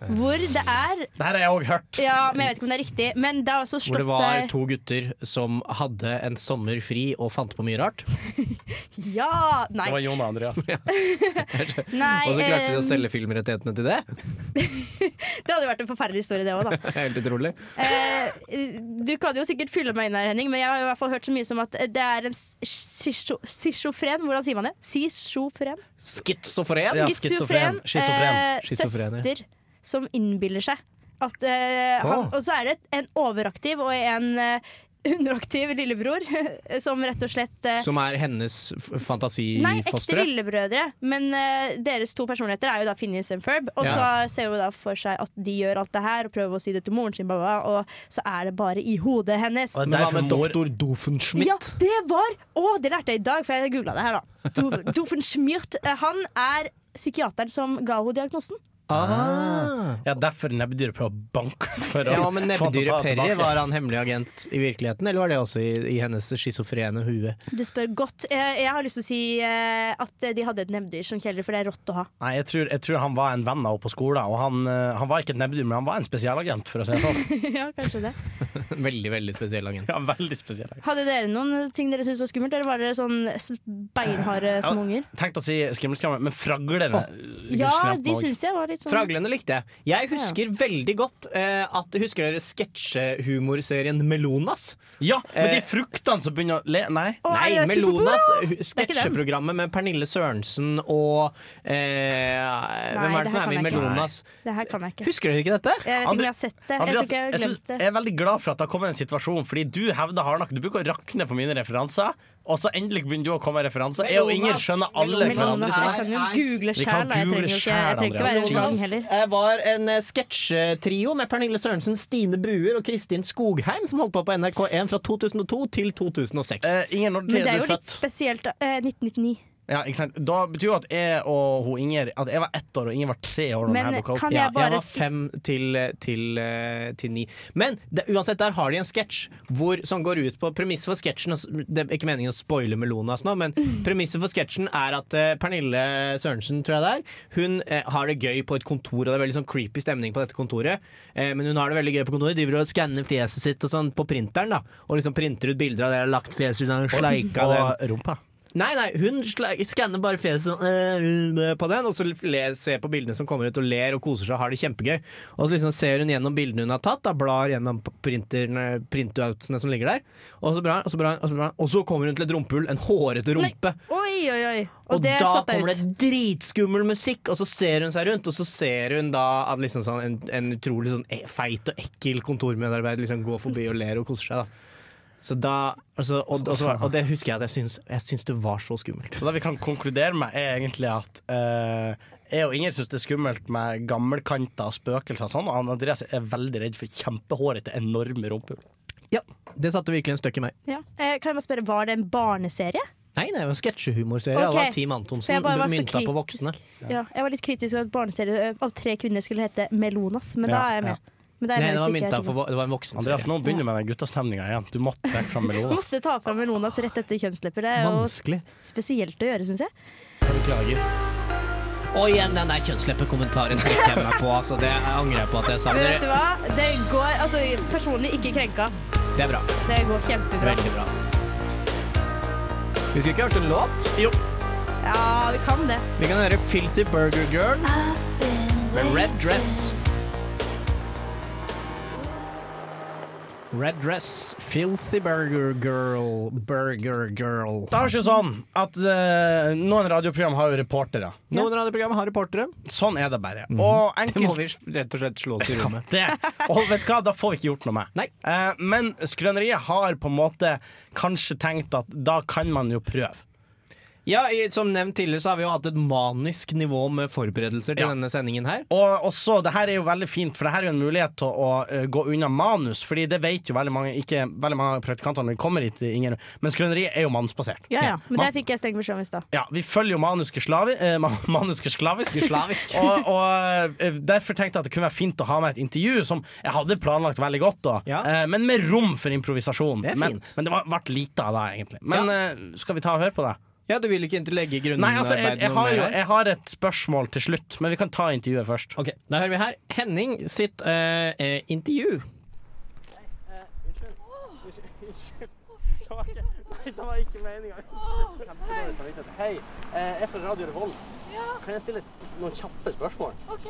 D: Hvor det er
C: Det her har jeg òg hørt.
D: Ja, men jeg vet ikke om det er riktig, men det har også
B: Hvor
D: slått
B: det var
D: seg
B: to gutter som hadde en sommer fri og fant på mye rart.
D: Ja! Nei.
C: Det var Jon og Andreas.
D: nei
B: Og så klarte de å
D: eh,
B: selge filmrettighetene til det.
D: det hadde vært en forferdelig historie, det òg, da.
B: [LAUGHS] Helt utrolig.
D: Eh, du kan jo sikkert fylle meg inn her, Henning, men jeg har i hvert fall hørt så mye som at det er en schizofren Hvordan sier man det? Schizofren?
B: Schizofren.
C: Ja, schizofren. Schizofren.
D: eh,
B: Schizofren, ja.
D: søster som innbiller seg at eh, han,
B: Åh.
D: Og så er det en overaktiv og en eh, [LAUGHS] underaktiv lillebror [LAUGHS] som rett og slett eh,
B: Som er hennes f-
D: Nei, ekte
B: fantasifostre?
D: lillebrødre. Men eh, deres to personligheter er jo da Phineas og Ferb. Og
B: Ja.
D: så ser hun da for seg at de gjør alt det her og prøver å si det til moren sin, bla, bla, bla, og så er det bare i hodet hennes.
C: Og det-
B: Men hva med
C: Derfor mor-
B: doktor Doofenschmidt?
D: Ja, det var Å, det lærte jeg i dag, for jeg googla det her, da. Do, Doofenshmirtz, eh, Han er psykiateren som ga henne diagnosen.
B: Ah.
C: Ja, derfor nebbdyret prøver å banke ut for å
B: Ja, men
C: få han til
B: nebbdyret
C: å ta det
B: Perry,
C: tilbake.
B: var han hemmelig agent i virkeligheten, eller var det også i, i hennes schizofrene
C: [LAUGHS]
B: hue?
D: Du spør godt. Eh, jeg har lyst til å si eh, at de hadde et nebbdyr som kjæledyr, for det er rått å ha. [LAUGHS]
C: Nei, jeg tror, jeg tror han var en venn av henne på skolen. Og han, eh, han var ikke et nebbdyr, men han var en spesialagent, for å si det sånn.
D: ja, kanskje det.
B: Veldig, veldig spesiell agent.
C: [LAUGHS] Ja, veldig spesial.
D: Hadde dere noen ting dere syntes var skummelt, eller var dere sånn s- beinharde som unger?
C: Tenkte å si skummelskramme, men fraglene eh,
D: Ja,
C: skremte
D: de
C: meg også.
D: syns jeg var litt sånn
B: Fraglene likte jeg. Jeg husker veldig godt eh, at Husker dere sketsjehumorserien Melonas?
C: Ja, men de
B: Eh,
C: fruktene som begynner å le Nei.
D: Å,
B: Nei,
D: jeg er
B: Melonas
D: superpopulær!
B: hu-
D: er ikke den.
B: sketsjeprogrammet med Pernille Sørensen og eh, Hvem er
D: det
B: det som
D: her
B: er med i
D: kan jeg ikke.
B: Melonas?
D: Det her kan jeg ikke.
B: Husker dere ikke dette?
D: Jeg vet ikke om
C: Andre-
D: jeg har sett det. Jeg tror
C: Andreas,
D: ikke jeg har
C: jeg, synes,
D: glemt
C: jeg
D: det.
C: er veldig glad for at det har kommet en situasjon, fordi du hevder hardnakket. Du bruker å rakne på mine referanser, og så endelig begynner du å komme med referanser. Jeg og Inger skjønner alle
B: Melonas.
D: Melonas,
C: hverandres
B: Melonas
D: jeg
B: er-
D: kan jo
B: er-
D: google
C: Vi
D: sjæl,
C: kan
D: da. jeg trenger
C: google
D: jo ikke, jeg trenger ikke
C: sjæl,
D: være en
C: Andreas.
D: lang heller.
B: eh, var en eh, sketsjetrio med Pernille Sørensen, Stine Buer og Kristin Skogheim som holdt på på NRK1 fra 2002 til 2006.
C: Eh, Inger, når
D: Men det er
C: du
D: jo litt
C: født?
D: spesielt. da. Eh, 1999.
C: Ja, ikke sant? Da betyr jo at jeg og hun Inger At jeg var ett år, og Inger var tre år. når
D: Men
C: denne boka kom.
D: kan
B: Ja,
D: jeg bare
B: var fem til, til, eh, til ni. Men det, uansett, der har de en sketsj hvor- som går ut på Premisset for sketsjen og s- Det er ikke meningen å spoile Melonas nå,
D: [LAUGHS]
B: men premisset for sketsjen er at eh, Pernille Sørensen, tror jeg det er, hun eh, har det gøy på et kontor, og det er veldig sånn creepy stemning på dette kontoret. Eh, men hun har det veldig gøy på kontoret, driver og skanner fjeset sitt og sånn på printeren, da. Og liksom printer ut bilder av det, har lagt fjeset sitt, og sleika den.
C: Og rumpa.
B: Nei, nei, hun sla- skanner bare fjeset sånn, øh, øh, på den, og så le- ser på bildene som kommer ut og ler og koser seg og har det kjempegøy. Og så liksom ser hun gjennom bildene hun har tatt, da blar gjennom p- printerne, printoutsene som ligger der. Og så bra, og så bra, og så bra. Og så kommer hun til et rumpehull, en hårete rumpe.
D: Oi, oi, oi. Og,
B: Og,
D: det
B: da
D: satte
B: kommer
D: jeg ut.
B: det dritskummel musikk, og så ser hun seg rundt, og så ser hun da at liksom sånn en, en utrolig sånn e- feit og ekkel kontormedarbeider liksom går forbi og ler og koser seg, da. Så da, altså, og, og, så,
D: Sånn.
B: var- og det husker jeg at jeg syns, jeg syns det var så skummelt.
C: Så det vi kan konkludere med, er egentlig at eh, jeg og Inger syns det er skummelt med gammelkanter og spøkelser og sånn, og Andreas er veldig redd for kjempehårete, enorme rumpehull.
B: Ja, det satte virkelig en støkk i meg.
D: Ja. Eh, kan jeg bare spørre, var det en barneserie?
B: Nei, nei, det var en sketsjehumorserie.
D: Ok.
B: Det var Team
D: For jeg
B: Antonsen
D: bare var så
B: mynta på
D: kritisk.
B: voksne.
D: Ja, jeg var litt kritisk til at barneserie eh, av tre kvinner skulle hete Melonas, men da
C: Ja,
D: er jeg
C: ja.
D: med. Men da er
B: Nei,
D: jeg
B: det var,
D: med hvis det ikke
B: mynta
D: er
B: på, vo- det var en
C: Andreas,
B: voksenserie.
C: nå begynner vi med den guttastemninga igjen. Du måtte trekke fram
D: Jeg [LAUGHS]
C: melonen.
D: Måtte ta fram Melonas rett etter kjønnslepper. Det er jo
B: Vanskelig.
D: spesielt å gjøre, syns jeg.
B: Beklager. Og igjen den der kjønnsleppekommentaren trekker jeg meg på. Altså, det angrer jeg på at jeg sa.
D: Men vet du
B: Dere,
D: hva? Det går altså personlig ikke krenka.
B: det er bra.
D: Det går kjempebra.
B: Veldig bra. Vi skulle ikke hørt en låt. Jo.
D: Ja, vi kan det.
B: Vi kan høre Filthy Burger Girl med Red Dress. Red Dress, Filthy Burger Girl, Burger Girl.
C: Det er jo sånn at eh, noen radioprogram har jo reportere.
B: Noen radioprogram har reportere.
C: Sånn er det bare.
B: Det
C: Og
B: må
C: enkelt
B: vi rett og slett slå oss i rommet.
C: det. Og vet du hva, da får vi ikke gjort noe med.
B: Nei.
C: Eh, men Skrøneriet har på en måte kanskje tenkt at da kan man jo prøve.
B: Ja, i- Som nevnt tidligere så har vi jo hatt et manisk nivå med forberedelser til
C: Ja.
B: denne sendingen her.
C: Og også, det her er jo veldig fint, for det her er jo en mulighet til å eh, gå unna manus. Fordi det vet jo veldig mange Ikke veldig mange av praktikantene når de kommer hit, Inger, men skrøneriet er jo mannsbasert.
D: Ja, ja. Men
C: Man-
D: der fikk jeg streng beskjed om i stad.
C: ja, Vi følger jo manusker slavi, eh, ma- [LAUGHS] manusker slavisk.
B: Slavisk. [LAUGHS]
C: og, og eh, Derfor tenkte jeg at det kunne være fint å ha med et intervju som jeg hadde planlagt veldig godt, da,
B: Ja.
C: eh, men med rom for improvisasjon.
B: Det er
C: men,
B: fint.
C: men det var- ble lite av det, egentlig. Men
B: Ja.
C: eh, skal vi ta og høre på det?
B: Ja, Du vil ikke legge
C: Nei, altså,
B: grunnarbeidet
C: jeg, jeg,
B: noe
C: har,
B: mer
C: jo-
B: her?
C: jeg har et spørsmål til slutt, men vi kan ta intervjuet først.
B: Ok, Da hører vi her Henning sitt eh, eh, intervju.
C: Eh, [LAUGHS] Nei, det var ikke meninga. Kjempedårlig samvittighet. Hei, eh, jeg er fra Radio Revolt. Kan jeg stille noen kjappe spørsmål?
G: Ok.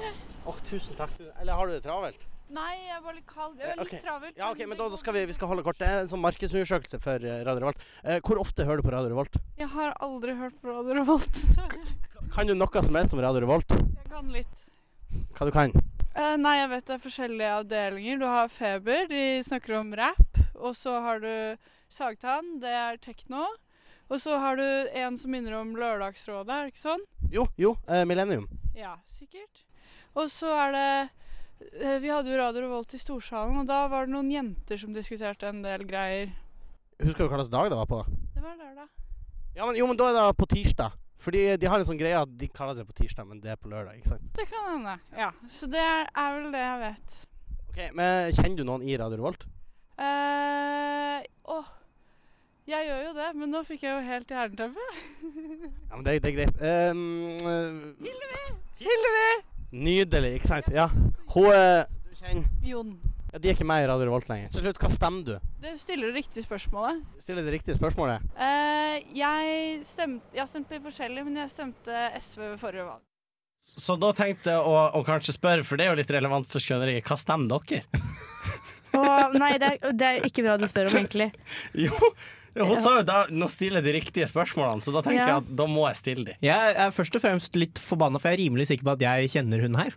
C: Åh, Tusen takk. tusen- Eller har du det travelt? Eh,
G: Nei, jeg er bare litt kald. Jeg er litt
C: Ok.
G: travelt.
C: Ja, ok, men da, da skal vi, vi skal holde kort. Det er en sånn markedsundersøkelse for eh, Radio Revolt. Eh, hvor ofte hører du på Radio Revolt?
G: Jeg har aldri hørt på Radio [LAUGHS] Revolt, dessverre.
C: Kan du noe som helst om Radio Revolt?
G: Jeg kan litt.
C: Hva du kan?
G: Eh, nei, jeg vet det er forskjellige avdelinger. Du har Feber, de snakker om rap Og så har du Sagtann, det er tekno. Og så har du en som minner om Lørdagsrådet, er det ikke sånn?
H: Jo, jo, eh, Millennium.
G: Ja, sikkert. Og så er det eh, Vi hadde jo Radio Revolt i Storsalen, og da var det noen jenter som diskuterte en del greier.
H: Husker du hva slags dag det var på?
G: Det var lørdag.
H: Ja, men, jo, men da er det på tirsdag. Fordi de har en sånn greie at de kaller seg på tirsdag, men det er på lørdag. ikke sant?
G: Det kan hende. Ja. Så det er, er vel det jeg vet.
H: Ok, men Kjenner du noen i Radio Revolt?
G: eh åh. Jeg gjør jo det, men nå fikk jeg jo helt [LAUGHS] jernteppe.
H: Ja, men det, det er greit. Eh, mm, eh,
G: Hildevi!
H: nydelig, ikke sant? Ja. Hun eh, Du kjenner
G: Jon.
H: ja, De er ikke med i Radio Revolt lenger. Så til slutt, hva stemmer du?
G: Du stiller det riktige spørsmålet.
H: Stiller det riktige spørsmålet.
G: Eh, jeg, stemte, jeg har stemt litt forskjellig, men jeg stemte SV ved forrige valg.
C: Så da tenkte jeg å, å kanskje spørre, for det er jo litt relevant for skjønneriet, hva stemmer dere?
B: [LAUGHS]
D: Å, nei, det er, det er ikke bra du spør om, egentlig.
C: Jo, hun sa jo da nå stiller jeg de riktige spørsmålene, så da tenker
D: Ja.
C: jeg at da må jeg stille de.
B: Jeg er først og fremst litt forbanna, for jeg er rimelig sikker på at jeg kjenner hun her.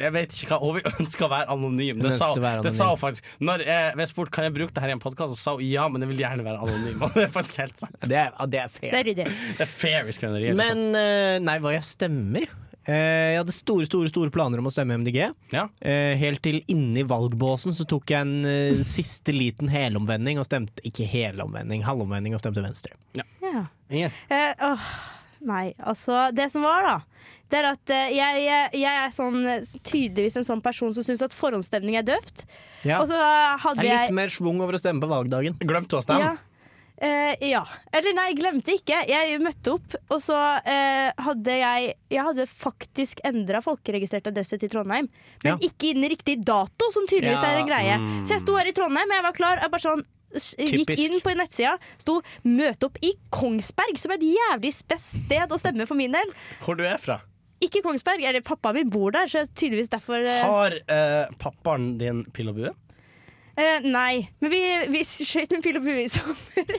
C: Jeg vet ikke hva, [LAUGHS] Hun ønsker å være anonym. Det
B: ønsker
C: sa,
B: å være
C: det sa
B: anonym.
C: hun faktisk. Når jeg, jeg spurte kan jeg bruke det her i en podkast, så sa hun ja, men jeg vil gjerne være anonym. [LAUGHS] Og det er faktisk helt sant.
B: Det er, ja, det er fair.
D: Det er ryddig.
C: Det er fair i liksom. skrøneriet.
B: Men eh, nei, hva jeg stemmer? Eh, jeg hadde store store, store planer om å stemme MDG.
C: Ja.
B: Eh, helt til inni valgbåsen så tok jeg en eh, siste liten helomvending og stemte Ikke helomvending, halvomvending og stemte venstre.
D: Ja.
H: Inger?
D: Eh, åh, nei, altså Det som var, da, det er at eh, jeg, jeg, jeg er sånn, eh, tydeligvis en sånn person som syns at forhåndsstemning er døvt.
B: Ja.
D: Og så
B: Det
D: hadde
B: er
D: jeg
B: litt mer schwung over å stemme på valgdagen.
C: Glemte hun å stemme?
D: Ja. Eh, ja. Eller nei, glemte ikke. Jeg møtte opp, og så eh, hadde jeg Jeg hadde faktisk endra folkeregistrert adresse til Trondheim, men
B: Ja.
D: ikke inn i riktig dato, som tydeligvis
B: Ja, Mm.
D: er en greie. Så jeg sto her i Trondheim, jeg var klar. Jeg bare sånn s- Gikk
B: Typisk.
D: inn på nettsida, sto 'møte opp i Kongsberg', som er et jævlig spes sted å stemme for min del.
C: Hvor du er fra?
D: Ikke Kongsberg, eller pappaen min bor der, så tydeligvis derfor eh,
C: Har eh, pappaen din pill og bue?
D: eh, Nei. Men vi, vi skøyt med pil og bue i sommer.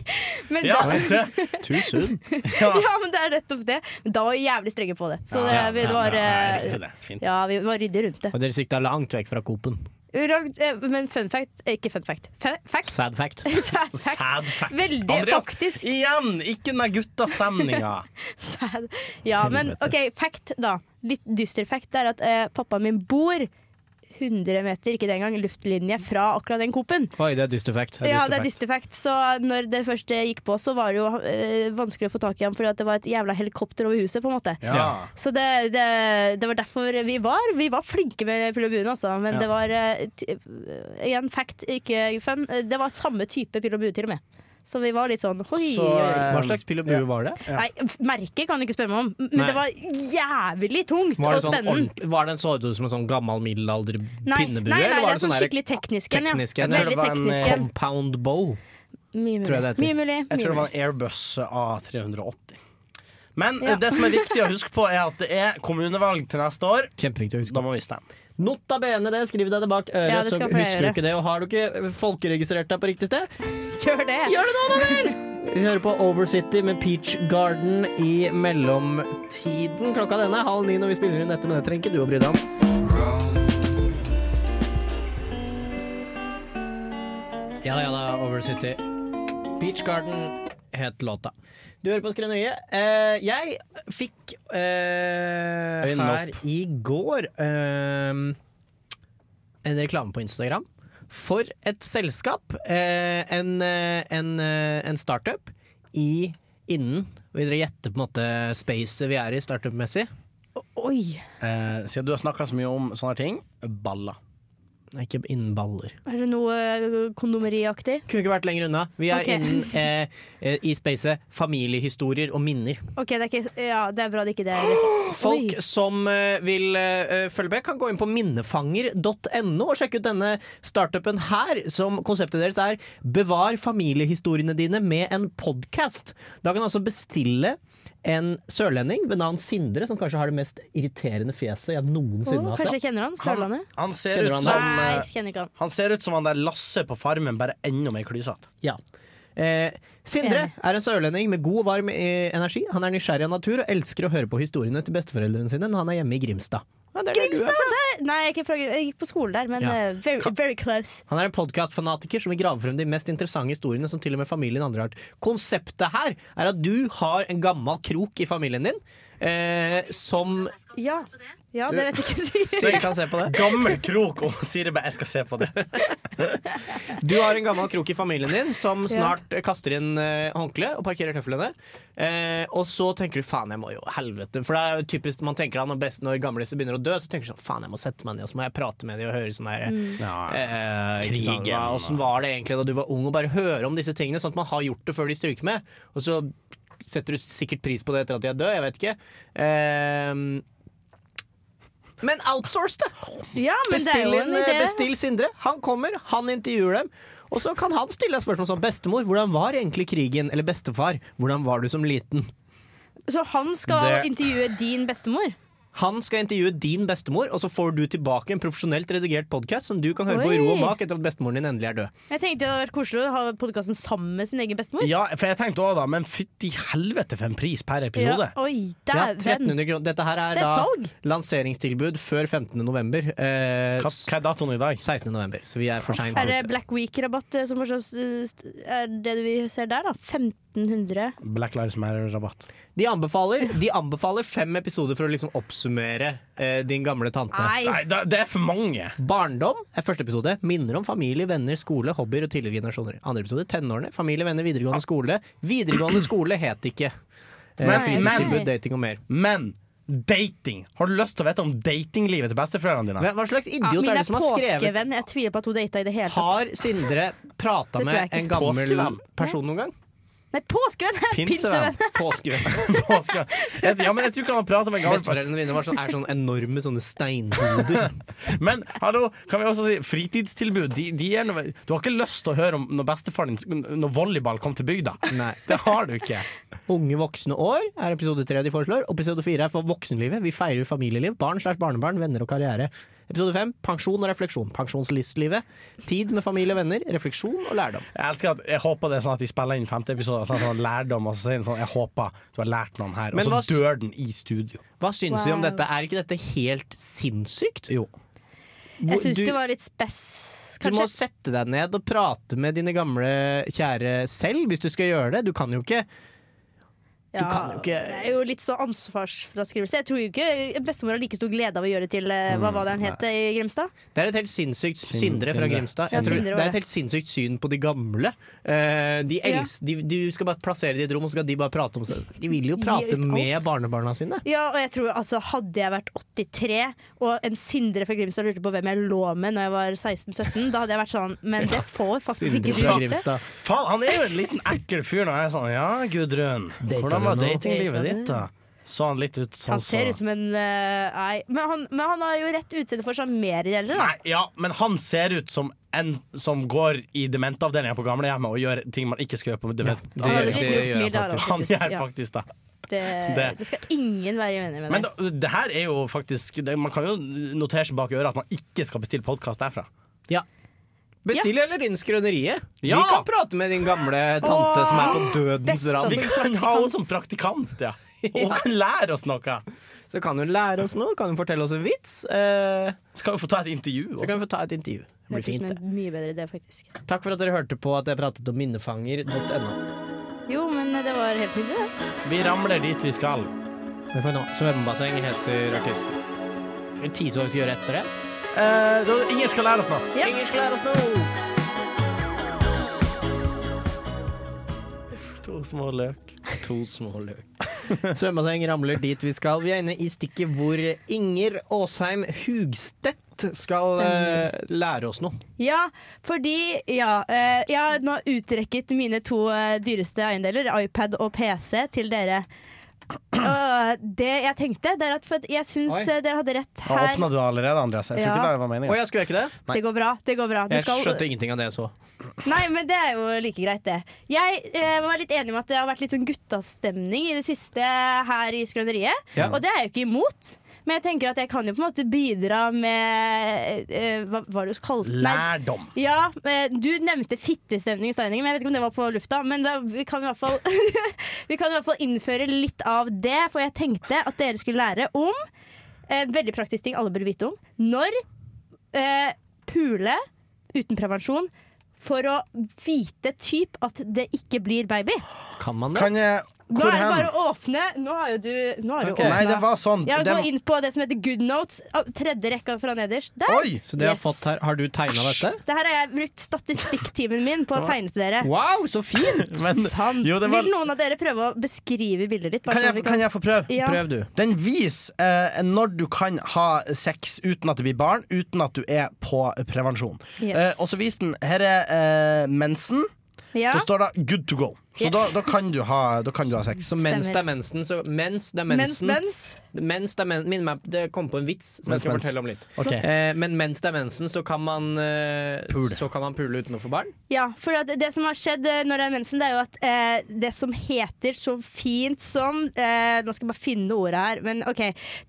D: [LAUGHS] Men
C: Ja,
D: da,
C: det,
D: [LAUGHS]
B: Too soon.
D: Ja, men det er nettopp det. Men da var vi jævlig strenge på det. Så det,
C: Ja,
D: vi
C: ja,
D: var
C: ja, ja,
D: eh,
C: jeg likte det. Fint.
D: ja, vi var ryddige rundt det.
B: Og dere sikta langt vekk fra Coop-en.
D: Uragt, eh, Men fun fact eh, Ikke fun fact. Fa- Fact.
B: Sad fact.
D: [LAUGHS] Sad fact.
C: Sad fact.
D: Veldig
C: Andreas,
D: faktisk.
C: Igjen! Ikke den der guttastemninga.
D: Sad. Ja, men OK,
B: Helvete.
D: fact, da. Litt dyster fact er at eh, pappaen min bor 100 meter, ikke det engang, luftlinje fra akkurat den Coop-en.
B: Oi, det er dyster fact.
D: Ja, det er dyster fact. Så når det først eh, gikk på, så var det jo eh, vanskelig å få tak i ham, fordi at det var et jævla helikopter over huset, på en måte.
C: Ja.
D: Så det, det, det var derfor vi var. Vi var flinke med pil og bue, altså. Men det var eh, t- eh, igjen fact, ikke fun. Eh, Det var samme type pil og bue, til og med. Så vi var litt sånn hoi.
C: Så, eh,
B: Hva slags pil og bue var det?
D: Nei, f- merket kan du ikke spørre meg om, men
B: Nei.
D: det var jævlig tungt
B: Var det,
D: og
B: sånn
D: spennende.
B: ordentlig- var det en så ut som en sånn gammel middelalder
D: Nei, nei,
B: pinnebue?
D: nei,
B: eller
D: det
B: var
D: er sånn
B: der
D: skikkelig teknisk en. Ja.
B: teknisk en? Jeg tror
D: Veldig
B: det var en,
D: teknisk en.
B: Compound bow.
D: Mye
B: tror jeg det
D: mulig.
B: heter.
D: Mye mulig.
C: Jeg tror
D: mye
C: det
D: mulig.
C: var en Airbus A380. Men
D: Ja.
C: eh, det som er viktig å huske på, er at det er kommunevalg til neste år.
B: Kjempeviktig å huske.
C: Da må vi stemme.
B: Nota bene det, skriv deg det bak øret,
D: Ja, det
B: så
D: skal jeg
B: husker du
D: gjøre.
B: ikke det. Og har du ikke folkeregistrert deg på riktig sted,
D: Gjør det.
B: gjør det nå, da vel! Vi hører på Oversity med Peach Garden i mellomtiden. Klokka denne er halv ni når vi spiller inn dette, men det trenger ikke du å bry deg om. Ja da, ja da, Oversity. Peach Garden het låta. Du hører på Skrøneriet. Eh, jeg fikk eh,
C: Øynene
B: her i går eh, en reklame på Instagram for et selskap, eh, en, eh, en, eh, en startup, i innen Vil dere gjette på en måte spacet vi er i startup-messig?
D: Oi.
C: Eh, siden du har snakka så mye om sånne ting baller.
B: Nei, Ikke innen baller.
D: Er det noe eh, kondomeriaktig?
B: Kunne ikke vært lenger unna. Vi er
D: Ok.
B: innen eh, eh, i spacet familiehistorier og minner.
D: OK, det er ikke Ja, det er bra det ikke det er
B: Folk
D: Oi.
B: som eh, vil eh, følge med, kan gå inn på minnefanger.no og sjekke ut denne startupen her. Som konseptet deres er 'Bevar familiehistoriene dine med en podkast'. Da kan du altså bestille en sørlending ved navn Sindre, som kanskje har det mest irriterende fjeset jeg noensinne
D: Å,
B: har
D: kanskje
B: sett.
D: jeg kjenner han?
C: Han,
D: Sørlandet?
C: han, ser
B: Kjenner
C: ut
B: du han
C: som,
D: Nei,
C: eh,
D: kjenner ikke han.
C: han ser ut som han der Lasse på Farmen, bare enda mer klysete.
B: Ja. Eh, Sindre
D: Enig.
B: er en sørlending med god og varm eh, energi. Han er nysgjerrig av natur og elsker å høre på historiene til besteforeldrene sine når han er hjemme i Grimstad. Ja, det er der du er
D: Grimstad!
B: fra.
D: Der, nei, jeg, er ikke fra, Grim- jeg gikk på skolen der, men
B: Ja.
D: eh, very, very close.
B: Han er en podkastfanatiker som vil grave frem de mest interessante historiene som til og med familien andre har hørt. Konseptet her er at du har en gammel krok i familien din eh, som
D: Ja, ja det vet jeg ikke.
B: [LAUGHS] Siri kan se på det.
C: Gammel krok, og Siri bare 'jeg skal se på [LAUGHS] det'.
B: Du har en gammel krok i familien din som snart eh, kaster inn eh, håndkle og parkerer tøflene. Eh, og så tenker du faen, jeg må jo helvete. For det er jo typisk man tenker da når, best, når gamliser begynner å dø, så tenker du sånn faen, jeg må sette meg ned og så må jeg prate med dem og høre sånn her eh,
C: Mm.
B: ikke sant,
C: Krigen,
B: hva- Åssen var det egentlig da du var ung, å bare høre om disse tingene, sånn at man har gjort det før de stryker med. Og så setter du sikkert pris på det etter at de er døde, jeg vet ikke. Eh, men outsource det!
D: Ja, men det er
B: Bestill,
D: jo en
B: inn, eh,
D: idé.
B: bestill Sindre. Han kommer, han intervjuer dem. Og så kan han stille deg spørsmål som bestemor, hvordan var egentlig krigen? Eller bestefar, hvordan var du som liten?
D: Så han skal
C: Det-
D: intervjue din bestemor?
B: Han skal intervjue din bestemor, og så får du tilbake en profesjonelt redigert podkast som du kan høre på i ro og
D: Oi.
B: mak etter at bestemoren din endelig er død.
D: Jeg tenkte det hadde vært koselig å ha podkasten sammen med sin egen bestemor.
C: Ja, for jeg tenkte også da, men fytti helvete for en pris per episode.
D: Ja, Oi,
B: Ja,
D: dæven.
B: 1300 kroner. Dette her er,
D: Det er salg.
B: da lanseringstilbud før 15. november. Eh,
C: Hva, hva er datoen i dag?
B: 16. november, så vi er for seint
D: Er det
B: ute.
D: Black Week-rabatt eh, som forstås, eh, st- er det vi ser der, da? 1500?
C: Black Lives Matter-rabatt.
B: De anbefaler, de anbefaler fem episoder for å liksom oppsummere eh, din gamle tante.
C: Nei, det, det er for mange.
B: Barndom er første episode. Minner om familie, venner, skole, hobbyer og tidligere generasjoner. Andre episode tenårene. Familie, venner, videregående skole. Videregående skole het ikke. Eh,
C: Men-
B: Fritidstilbud,
D: men-
B: dating og mer.
C: Men dating. Har du lyst til å vite om datinglivet til besteforeldrene dine?
B: Hva hva slags
D: Ja,
B: idiot
D: min
B: er
D: er
B: det som har skrevet
D: påskevenn. Jeg tviler på at hun data i det hele tatt.
B: Har Sindre prata
D: Det tror jeg
B: med
D: ikke.
B: en gammel
C: Påskevenn.
B: person noen gang?
D: Nei, påskevenn! [LAUGHS] er
C: Pinsevenn.
D: Pinsevenn.
B: Påskevenn.
C: [LAUGHS] Påske. Jeg, ja, men jeg tror ikke han har pratet med en gammel
B: Besteforeldrene mine var sånn, er sånn enorme sånne steinhoder.
C: Men hallo, kan vi også si fritidstilbud? De, de er noe, du har ikke lyst til å høre om når bestefaren din Når volleyball kom til bygda.
B: Nei.
C: Det har du ikke.
B: Unge voksne år er episode tre de foreslår. Og episode fire er for voksenlivet. Vi feirer familieliv, barn slash barnebarn, venner og karriere. Episode fem pensjon og refleksjon. Pensjonslivslivet. Tid med familie og venner. Refleksjon og lærdom.
C: Jeg elsker at Jeg håper det er sånn at de spiller inn femte episode, sånn at han har lærdom, og så sier han sånn Jeg håper du har lært noen her,
B: Men
C: og
B: hva s-
C: så dør den i studio.
B: Hva syns vi om
D: Wow.
B: dette? Er ikke dette helt sinnssykt?
C: Jo.
D: Jeg syns
B: Du-
D: det var litt spess,
B: Du må
D: kanskje.
B: sette deg ned og prate med dine gamle kjære selv, hvis du skal gjøre det. Du kan jo ikke
D: Ja,
B: kan jo ikke-
D: Det er jo litt sånn ansvarsfraskrivelse. Jeg tror jo ikke bestemor har like stor glede av å gjøre til eh,
B: Mm,
D: Hva var det han het i Grimstad?
B: Det er et helt sinnssykt Sindre fra
C: Sindre.
B: Grimstad. Jeg
D: Ja,
B: tror,
D: Sindre
B: det
D: var
B: er et
D: det.
B: helt sinnssykt syn på de gamle. Eh, de els, de, du skal bare plassere de i et rom, og så skal de bare prate om seg. De vil jo prate
D: ut alt.
B: med barnebarna sine.
D: Ja, og jeg tror altså Hadde jeg vært 83, og en Sindre fra Grimstad lurte på hvem jeg lå med når jeg var 16-17, da hadde jeg vært sånn Men det får faktisk
B: Sindre
D: ikke
B: fra
D: du vite.
B: Grimstad.
C: Faen, han er jo en liten ekkel fyr når jeg er sånn Ja, Gudrun,
B: Dater
C: hvordan var
B: du nå?
C: datinglivet
D: Dater du?
C: ditt, da? Så han litt ut sånn
B: altså.
D: Han
C: så
D: ser ut som en eh, Nei. Men han, men han har jo rett utseende for sjarmergjeldere, da.
C: Nei, ja, men han ser ut som en som går i dementavdelinga på gamlehjemmet og gjør ting man ikke skal gjøre på
D: Han
B: det-
D: hadde
C: dementavdelinga.
D: litt
B: det
D: lurt
B: gjør
D: smil
B: jeg
D: der, da,
C: Han gjør
D: Ja,
C: faktisk det.
D: det,
C: det.
D: det skal ingen være uenig med
C: Men
D: deg.
C: da, det her er jo faktisk det, Man kan jo notere seg bak øret at man ikke skal bestille podkast derfra.
B: Bestill eller inn skrøneriet.
C: Ja!
B: Vi kan prate med din gamle tante
D: Åh,
B: som er på dødens
D: best, altså.
B: rand.
C: Vi kan ha henne som praktikant, ja. Og hun kan lære oss noe.
B: Så kan hun lære oss noe, kan hun fortelle oss en vits. eh,
C: Så kan vi få ta et intervju.
B: så
C: Også.
B: kan vi få ta et intervju. Det blir
D: Hørtes ut
B: fint,
D: som
B: det.
D: en mye bedre idé, faktisk.
B: Takk for at dere hørte på at jeg pratet om minnefanger.no.
D: Jo, men eh, det var helt nydelig, det.
C: Vi ramler dit vi skal.
B: Men for nå, svømmebasseng heter artisten. Skal vi tease hva vi skal gjøre etter det?
C: Eh, da, ingen skal lære oss noe.
D: Ja.
B: Ingen skal lære oss noe!
C: To små løk.
B: To små løk. [LAUGHS] Svømmebasseng ramler dit vi skal. Vi er inne i stikket hvor Inger Aasheim Hugstedt skal eh, lære oss noe.
D: Ja, fordi ja, eh, jeg har nå utrekket mine to eh, dyreste eiendeler, iPad og PC, til dere. Øh, det jeg tenkte, det er at for at jeg syns
B: Oi.
D: eh, dere hadde rett
C: Har
D: her.
C: åpna du allerede, Andreas? Jeg tror
D: Ja.
C: ikke det var
B: Å,
C: meninga.
B: jeg skulle jeg ikke det?
D: Det går bra. det går bra Du
B: Jeg
D: skal-
B: skjønte ingenting av det jeg så.
D: Nei, men det er jo like greit, det. Jeg eh, var litt enig med at det har vært litt sånn guttastemning i det siste her i Skrøneriet.
B: Ja.
D: Og det er jeg jo ikke imot. Men jeg tenker at jeg kan jo på en måte bidra med eh, Hva hva var det du kalte Nei,
C: Lærdom.
D: Ja, eh, Du nevnte fittestemning i signingen, men jeg vet ikke om det var på lufta. Men da, vi, kan i hvert fall, [LAUGHS] vi kan i hvert fall innføre litt av det, for jeg tenkte at dere skulle lære om En veldig praktisk ting alle bør vite om. Når eh, pule uten prevensjon for å vite typ at det ikke blir baby.
B: Kan man det?
C: Kan jeg
D: Da
C: Hvor
D: er det
C: hen?
D: bare å åpne. Nå har jo du, nå har du
B: Ok.
D: åpnet.
C: Nei, det var sånn.
D: Ja,
C: det
D: Gå inn på det som heter Good Notes. ah, Tredje rekka fra nederst. Der!
C: Oi!
B: Så det jeg har
D: Yes.
B: fått her, har du tegna dette?
D: Det her har jeg brukt statistikktimen min på å tegne til dere.
B: Wow, så [LAUGHS] fint!
C: Men,
D: Sant.
C: jo, det var,
D: Vil noen av dere prøve å beskrive bildet ditt? Bare
C: kan,
D: sånn at vi
C: jeg, kan jeg få prøve?
D: Ja.
B: Prøv, du.
C: Den viser eh, når du kan ha sex uten at du blir barn, uten at du er på prevensjon.
D: Yes.
C: Eh, og så viser den Her er eh, mensen.
D: ja.
C: Da står det 'good to go'. Så
D: Yes.
C: da, da, kan du ha, da kan du ha sex.
B: Så mens
D: Stemmer.
B: det er mensen, så mens det er
D: Mens,
B: mensen
D: mens.
B: Mens det er men, minner meg, det kom på en vits som jeg
C: Mens,
B: skal
C: mens.
B: fortelle om litt.
C: Ok.
B: Eh, men mens det er mensen, så kan man eh,
C: Pule.
B: Så kan man pule uten å få barn?
D: Ja, for at det som har skjedd eh, når det er mensen, det er jo at eh, det som heter så fint som eh, Nå skal jeg bare finne ordet her, men OK.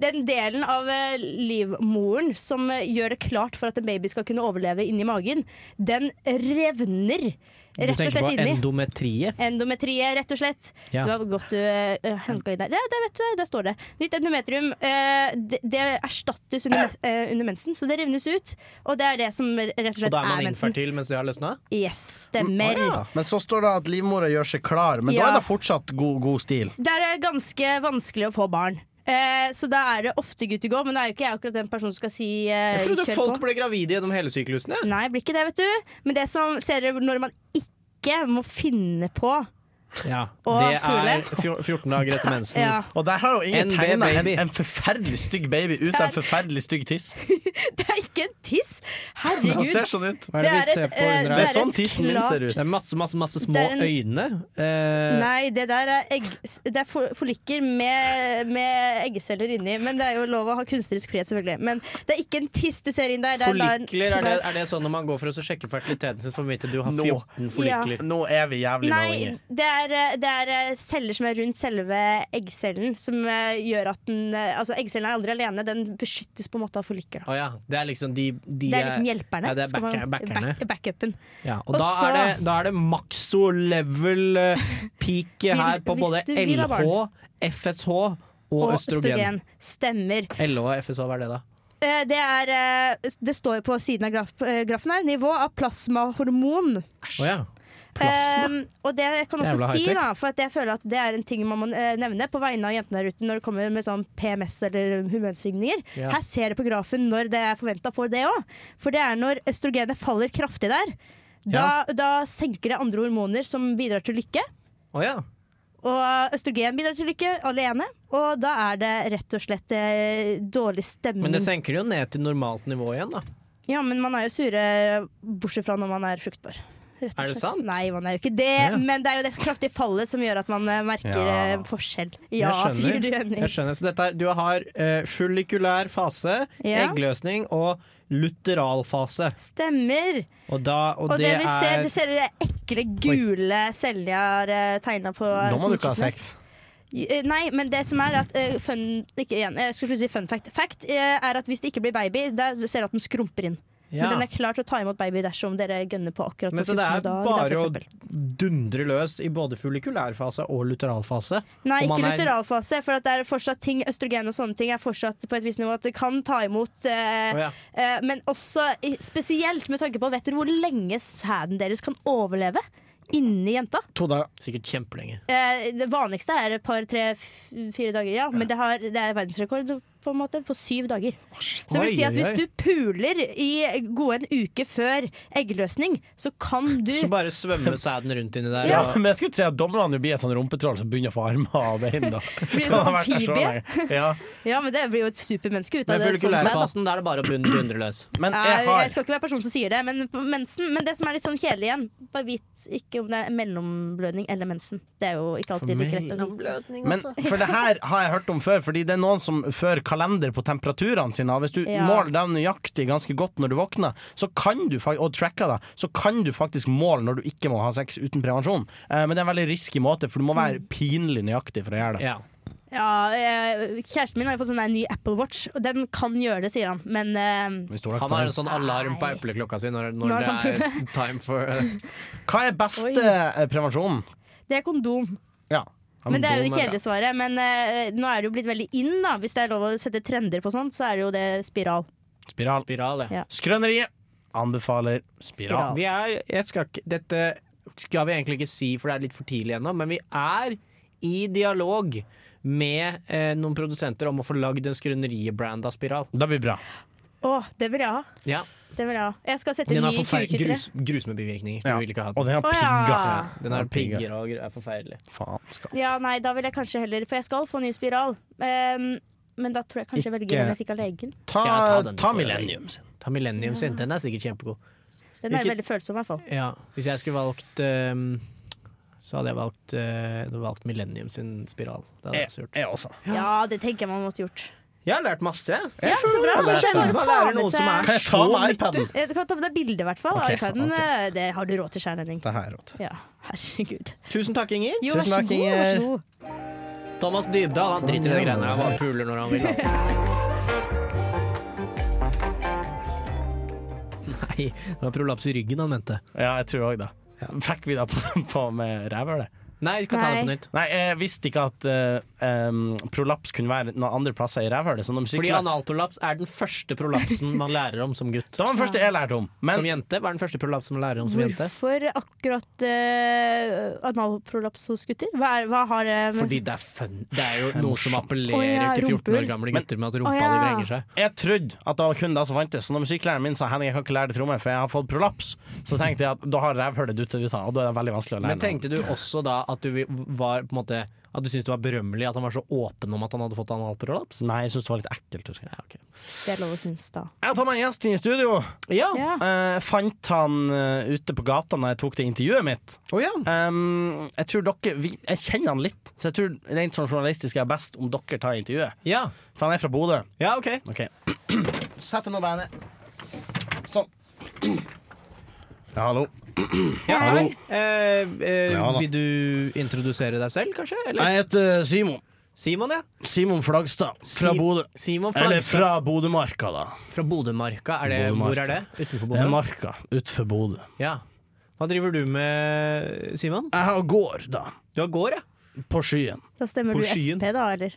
D: Den delen av eh, livmoren som eh, gjør det klart for at en baby skal kunne overleve inni magen, den revner
B: Du
D: rett og
B: tenker på
D: slett inni.
B: endometriet.
D: Endometriet, rett og slett.
B: Ja.
D: Det var godt du uh, hanka inn der. Ja, der, vet du, der står det. Nytt endometrium. eh, det, det erstattes under, me- eh, under mensen, så det revnes ut. Og det er det som rett og
B: Og
D: slett
B: da er man Mm,
D: mensen. Eh,
B: infertil mens det har løsna?
D: Yes, stemmer.
C: Men så står det at livmora gjør seg klar, men
D: Ja.
C: da er det fortsatt god, god stil.
D: Det er eh, ganske vanskelig å få barn. Eh, så da er det ofte good to go, men da er jo ikke jeg akkurat den personen som skal si eh,
B: Jeg trodde
D: kjør
B: folk
D: på.
B: ble gravide gjennom hele syklusen. jeg.
D: Nei, blir ikke det, vet du. Men det som ser dere når man ikke må finne på Og
B: Det er
D: fugle.
B: fjor- 14 dager etter mensen.
D: ja. [LAUGHS]
C: Og der har jo ingen
B: NB
C: tegna en,
B: baby.
C: en forferdelig stygg baby ut av en forferdelig stygg tiss.
D: Det er ikke en tiss!
C: Den
D: [LAUGHS] Herregud.
C: ser sånn ut.
B: Hva
D: Det
B: er det,
D: er
B: vi ser
D: et,
B: på under
D: eh,
C: Det
B: her?
C: er
D: Det er
C: sånn
D: et
C: tissen min
D: klart-
C: ser
B: Det
C: ut.
B: er masse, masse, masse små
D: Det er en-
B: øyne. Eh,
D: Nei, det der er, egg, det er fo- folikker med, med eggeceller inni. Men det er jo lov å ha kunstnerisk frihet, selvfølgelig. Men det er ikke en tiss du ser inn der. Det er da en-
B: Follikler, er det, er det sånn når man går for å sjekke fertiliteten sin, for å vite du har
C: Nå.
B: 14 follikler?
C: Nå er vi jævlig
D: Nei,
C: meldinger.
D: det er, det er eh, celler som er rundt selve eggcellen, som eh, gjør at den eh, Altså, eggcellen er aldri alene, den beskyttes på en måte av follikker. Da.
B: Å ja. Det er liksom de, de
D: Det er liksom hjelperne.
B: Ja, det er
D: skal man-
B: backer- backerne.
D: Back, backupen.
B: Ja, og
D: Og
B: da,
D: så-
B: er det, da er det maxo level eh,
D: [LAUGHS]
B: peak her på
D: hvis
B: både
D: du vil ha
B: LH,
D: barn.
B: FSH og,
D: Og
B: østrogen.
D: østrogen. Stemmer.
B: LH og FSH, hva er det da?
D: Eh, Det, er, eh, det står jo på siden av graf, eh, grafen her. Nivå av plasmahormon.
B: Å ja.
D: Eh, og det jeg kan også
B: Jævla
D: si,
B: high-tech.
D: da, for at jeg føler at det er en ting man må eh, nevne på vegne av jentene der ute når det kommer med sånn PMS eller humørsvingninger.
B: Ja.
D: Her ser du på grafen når det er forventa for det òg. For det er når østrogenet faller kraftig der. Da, da senker det andre hormoner som bidrar til lykke.
B: Å ja.
D: Og østrogen bidrar til lykke alene. Og da er det rett og slett eh, dårlig stemning.
B: Men det senker det jo ned til normalt nivå igjen, da.
D: Ja, men man er jo sure bortsett fra når man er fruktbar. Rett og
B: Er det
D: slett.
B: sant?
D: Nei, man er jo ikke det,
B: Ja.
D: men det er jo det kraftige fallet som gjør at man eh, merker eh, forskjell. Ja,
B: Jeg skjønner.
D: sier du, Henning.
B: Jeg skjønner. Så dette er, du har eh, follikulær fase,
D: Ja.
B: eggløsning og luteral fase.
D: Stemmer.
B: Og, da, og,
D: Og det,
B: det,
D: vi ser,
B: er
D: det ser de ekle, gule cellene jeg har uh, tegna på
C: Nå må du ikke ha
D: kjøkkenet.
C: sex.
D: Eh, Nei, men det som er at eh, fun, ikke igjen, jeg skulle si fun fact. Fact eh, er at hvis det ikke blir baby, da ser du at den skrumper inn.
B: ja.
D: Men den er klar til å ta imot baby dersom dere gønner på akkurat
B: Men
D: på
B: så det
D: 14.
B: er
D: dag.
B: bare
D: for
B: å
D: eksempel.
B: dundre løs i både follikulær fase og luteral fase.
D: Nei,
B: Om
D: ikke
B: man er-
D: luteralfase, for at det er fortsatt ting, østrogen og sånne ting er fortsatt på et visst nivå at det kan ta imot. Eh,
B: Å ja.
D: eh, men også i- spesielt med tanke på Vet dere hvor lenge sæden deres kan overleve inni jenta?
C: To dager.
B: Sikkert kjempelenge.
D: Eh, det vanligste er et par, tre, f- fire dager, ja. Men det, har, det er verdensrekord på en måte på syv dager. Så det vil si
B: Oi,
D: at
B: oi,
D: hvis
B: oi.
D: du puler i gode en uke før eggløsning, så kan du
B: [LAUGHS] Så bare svømmer sæden rundt inni der.
C: Ja,
B: og-
C: men jeg skulle ikke si at dommerne blir et sånn rumpetroll som begynner å få armer og bein.
D: [LAUGHS]
C: da
D: bli
B: [LAUGHS]
C: Han
D: sånn
C: har vært der så
D: amfibie.
C: lenge. Ja.
D: Ja, men det blir jo et supermenneske ut av
B: Men
D: det. sånn sett, da.
B: follikulærfasen, da er det bare å bund- dundre løs.
C: Men
D: Ja,
C: jeg
D: jeg,
C: har
D: skal ikke være personen som sier det, men på mensen. Men det som er litt sånn kjedelig igjen, bare vit ikke om det er mellomblødning eller mensen. Det er jo ikke alltid like lett å vite.
C: Men for det her har jeg hørt om før, fordi det er noen som fører kalender på temperaturene sine. og Hvis du
D: Ja.
C: måler dem nøyaktig ganske godt når du våkner, så kan du, fak- og tracker det, så kan du faktisk måle når du ikke må ha sex uten prevensjon. Eh, men det er en veldig risky måte, for du må
D: Mm.
C: være pinlig nøyaktig for å gjøre det.
B: Ja.
D: Ja, eh, kjæresten min har jo fått sånn der ny Apple Watch, og den kan gjøre det, sier han. Men eh,
C: Vi stoler ikke
B: Han
C: på
B: har
C: det.
B: en sånn alarm på
D: Nei.
B: epleklokka si når,
D: Når
B: når
D: han
B: det
D: [LAUGHS]
B: er time for
C: Hva er beste eh, prevensjonen?
D: det er kondom.
C: Ja.
D: Men det er jo det
B: Madonna,
D: kjedelige svaret. Men eh, nå er det jo blitt veldig in, da. Hvis det er lov å sette trender på sånt, så er det jo det spiral.
C: Spiral.
B: Spiral, ja.
D: Ja.
C: Skrøneriet anbefaler spiral.
D: Spiral.
B: Vi er jeg skal ikke, Dette skal vi egentlig ikke si, for det er litt for tidlig ennå, men vi er i dialog med eh, noen produsenter om å få lagd en skrøneriebranda spiral.
C: Det blir bra.
D: Å, det vil jeg ha.
B: Ja.
D: Det vil jeg ha. Jeg skal sette
B: Den
D: ny
B: har
D: i
B: forfer-
D: 2023.
B: grus, grusomme bivirkninger.
C: Ja.
B: Vi vil ikke ha den.
C: Og den har
D: Å, ja.
C: pigga.
B: Den er
C: Den pigger.
B: pigger og gr- er forferdelig.
C: Faen, skal
D: Ja, nei, da vil jeg kanskje heller For jeg skal få ny spiral. Ehm, men da tror jeg kanskje jeg velger
C: Ikke-
D: den jeg fikk av legen.
C: Ta,
B: Ja, ta den,
C: ta
B: så-
C: Millennium sin.
B: Ta Millennium sin. Den er sikkert kjempegod.
D: Den er
C: Hvilket-
D: veldig følsom, i hvert fall.
B: Ja, hvis jeg skulle valgt ehm, så hadde jeg valgt, eh, hadde valgt Millennium sin spiral. Det hadde jeg også gjort.
C: Jeg også.
D: Ja, det tenker jeg man måtte gjort.
B: Jeg har lært masse. jeg.
D: Ja, så bra.
B: Jeg har lært
D: Kanskje jeg
B: det.
D: bare
B: Man
D: tar
B: lærer
D: med
B: noe som
D: seg-
B: er
C: Kan jeg ta
B: så
C: med
B: nyttig.
C: iPaden?
D: Jeg kan ta på deg bilde, i hvert fall.
C: Ok,
D: av iPaden.
C: ok.
D: Eh, Det har du råd til, Skjær Henning.
C: Det her, råd.
D: Ja, herregud.
B: Tusen takk, Inger.
D: Jo,
C: Tusen takk,
D: god,
C: Inger.
D: så god.
B: Thomas Dybdahl han driter i de greiene her. Han bare puler når han vil. Nei, det var prolaps i ryggen han mente.
C: Ja, jeg tror òg det. Fikk vi det på, [LAUGHS] på med rævhølet?
B: Nei, vi kan ta det på
D: Nei.
B: nytt.
C: Nei, jeg visste ikke at eh, em, prolaps kunne være noen andre plasser i rævhølet. Så når
B: Fordi
C: musikklærer-
B: analprolaps er den første prolapsen man lærer om som gutt.
C: Det var den første jeg lærte om.
B: Som
C: Men
B: jente? Hva er den første prolapsen man lærer om som jente?
D: Hvorfor akkurat eh, analprolaps hos gutter? Hva, er, hva har eh, det med
B: Fordi det er fun. Det er jo noe som
D: Å
B: appellerer
D: ja,
B: til 14 år
D: rumpehull.
B: gamle gutter med at rumpa
D: Å ja.
B: di vrenger seg.
C: jeg trodde at det var kun det som fantes. Så når musikklæreren min sa Henning, jeg kan ikke lære deg trommer, for jeg har fått prolaps, så tenkte jeg at da har rævhølet dutt ut av, og da er det veldig vanskelig å lære
B: Men tenkte du også da at du var på en måte At du syntes det var berømmelig at han var så åpen om at han hadde fått analprolaps?
C: Nei, jeg syns det var litt ekkelt. husker Jeg
B: Ja, ok.
D: Det er lov å synes, da.
C: Jeg tar meg en gjest inn i studio.
B: ja.
D: Ja.
C: Eh, fant han eh, ute på gata da jeg tok det intervjuet mitt.
B: Å ja.
C: Em, jeg tror dere vi, Jeg kjenner han litt, så jeg tror rent sånn journalistisk er best om dere tar intervjuet.
B: ja.
C: For han er fra Bodø.
B: Ja, OK.
C: Ok Sett deg nå der ned. Sånn. [CLEARS THROAT] Ja, hallo.
B: Ja,
C: Hallo.
B: hei. Eh, eh,
C: Ja, da.
B: vil du introdusere deg selv, kanskje? Eller
C: Jeg heter eh, Simon.
B: Simon, ja.
C: Simon Flagstad. Fra
B: Si-
C: Bodø.
B: Simon
C: Eller
B: Flagstad
C: fra Bodømarka, da.
B: fra Bodømarka. Er det,
C: Bodømarka.
B: hvor er det? Utenfor
C: Det er
B: Bodø?
C: marka utenfor Bodø.
B: Ja. Hva driver du med, Simon?
C: Jeg har gård, da.
B: Du har gård, ja?
C: På skyen.
D: Da stemmer
B: På
D: du
B: skyen.
D: SP, da, eller?